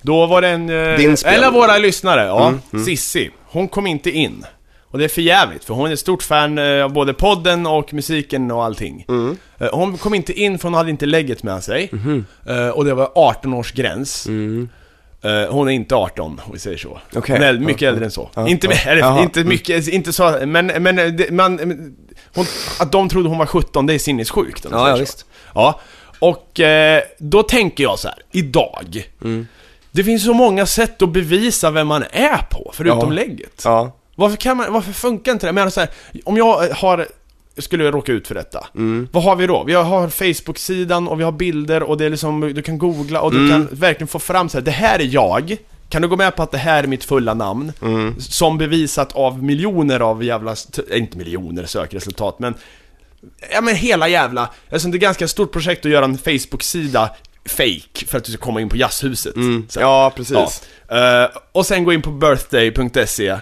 Speaker 2: då var det en... Eh,
Speaker 3: Mm. Din Mm, spelning.
Speaker 2: eller våra lyssnare, ja. Sissi, hon kom inte in. Och det är för jävligt för hon är ett stort fan eh, av både podden och musiken och allting.
Speaker 3: Mm.
Speaker 2: Eh, hon kom inte in för hon hade inte lägget med sig.
Speaker 3: Mhm.
Speaker 2: Eh, och det var 18 års gräns. Eh, hon är inte 18, om vi säger så.
Speaker 3: Mm. Okej.
Speaker 2: Nej, mycket äldre än så. inte, mer- eller,
Speaker 3: Jaha.
Speaker 2: inte mycket, inte så, men, men, det, man, men hon, att de trodde hon var 17, det är sinnessjukt. om man
Speaker 3: Ja,
Speaker 2: säger
Speaker 3: ja,
Speaker 2: så.
Speaker 3: visst.
Speaker 2: Ja, och eh, då tänker jag så här, idag.
Speaker 3: Mm.
Speaker 2: Det finns så många sätt att bevisa vem man är på, förutom
Speaker 3: Ja.
Speaker 2: lägget.
Speaker 3: ja.
Speaker 2: Varför, kan man, varför funkar inte det? Men så här, om jag har, skulle råka ut för detta, vad har vi då? Vi har Facebook-sidan och vi har bilder och det är liksom, du kan googla och du kan verkligen få fram så här, det här är jag. Kan du gå med på att det här är mitt fulla namn? Som bevisat av miljoner av jävla, st- eh, inte miljoner sökresultat, men Ja men hela jävla, eftersom det är ganska stort projekt att göra en Facebook-sida fake för att du ska komma in på jazzhuset. Så här.
Speaker 3: Ja, precis.
Speaker 2: Ja. Eh, och sen gå in på birthday.se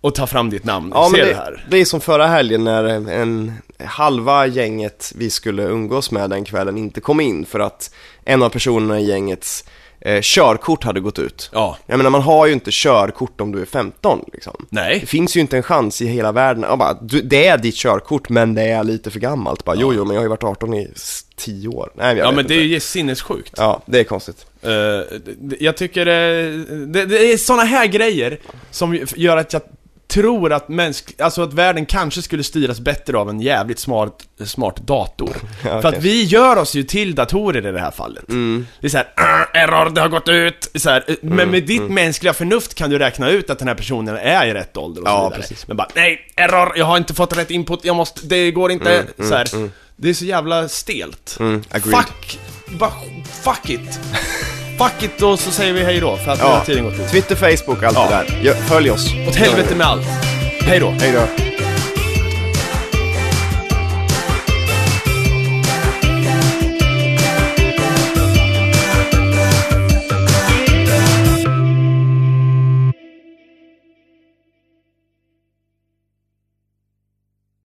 Speaker 2: och ta fram ditt namn.
Speaker 3: Ja,
Speaker 2: Ser
Speaker 3: men
Speaker 2: det,
Speaker 3: det,
Speaker 2: här?
Speaker 3: det är som förra helgen när en halva gänget vi skulle umgås med den kvällen inte kom in för att en av personerna i gängets eh, körkort hade gått ut.
Speaker 2: Ja.
Speaker 3: Jag menar man har ju inte körkort om du är 15 liksom.
Speaker 2: Nej.
Speaker 3: Det finns ju inte en chans i hela världen. Ja, bara, du, det är ditt körkort men det är lite för gammalt. Bara, jo, jo, men jag har ju varit 18 i s- 10 år. Nej, jag
Speaker 2: Ja
Speaker 3: vet
Speaker 2: men det är
Speaker 3: inte.
Speaker 2: ju sinnessjukt.
Speaker 3: Ja, det är konstigt.
Speaker 2: Eh, det- det- jag tycker eh, det, det är såna här grejer som ju- gör att jag tror att mänsk, alltså att världen kanske skulle styras bättre av en jävligt smart, smart dator. För att
Speaker 3: kanske.
Speaker 2: vi gör oss ju till datorer i det här fallet.
Speaker 3: Mm.
Speaker 2: Det är såhär, error, det har gått ut! Så här, eh, men med
Speaker 3: mm.
Speaker 2: ditt mänskliga förnuft kan du räkna ut att den här personen är i rätt ålder och så
Speaker 3: Ja,
Speaker 2: vidare.
Speaker 3: precis.
Speaker 2: Men bara, nej, error, jag har inte fått rätt input, jag måste, det går inte,
Speaker 3: Mm,
Speaker 2: så här. Det är så jävla stelt.
Speaker 3: agreed.
Speaker 2: Fuck! Bara, fuck it! Fuck it och så säger vi hej då för att nu
Speaker 3: Ja.
Speaker 2: har tiden gått ut.
Speaker 3: Twitter, Facebook, allt
Speaker 2: Ja.
Speaker 3: det där. Gö- Följ oss.
Speaker 2: Åt helvete med allt. Hej då.
Speaker 3: Hej då.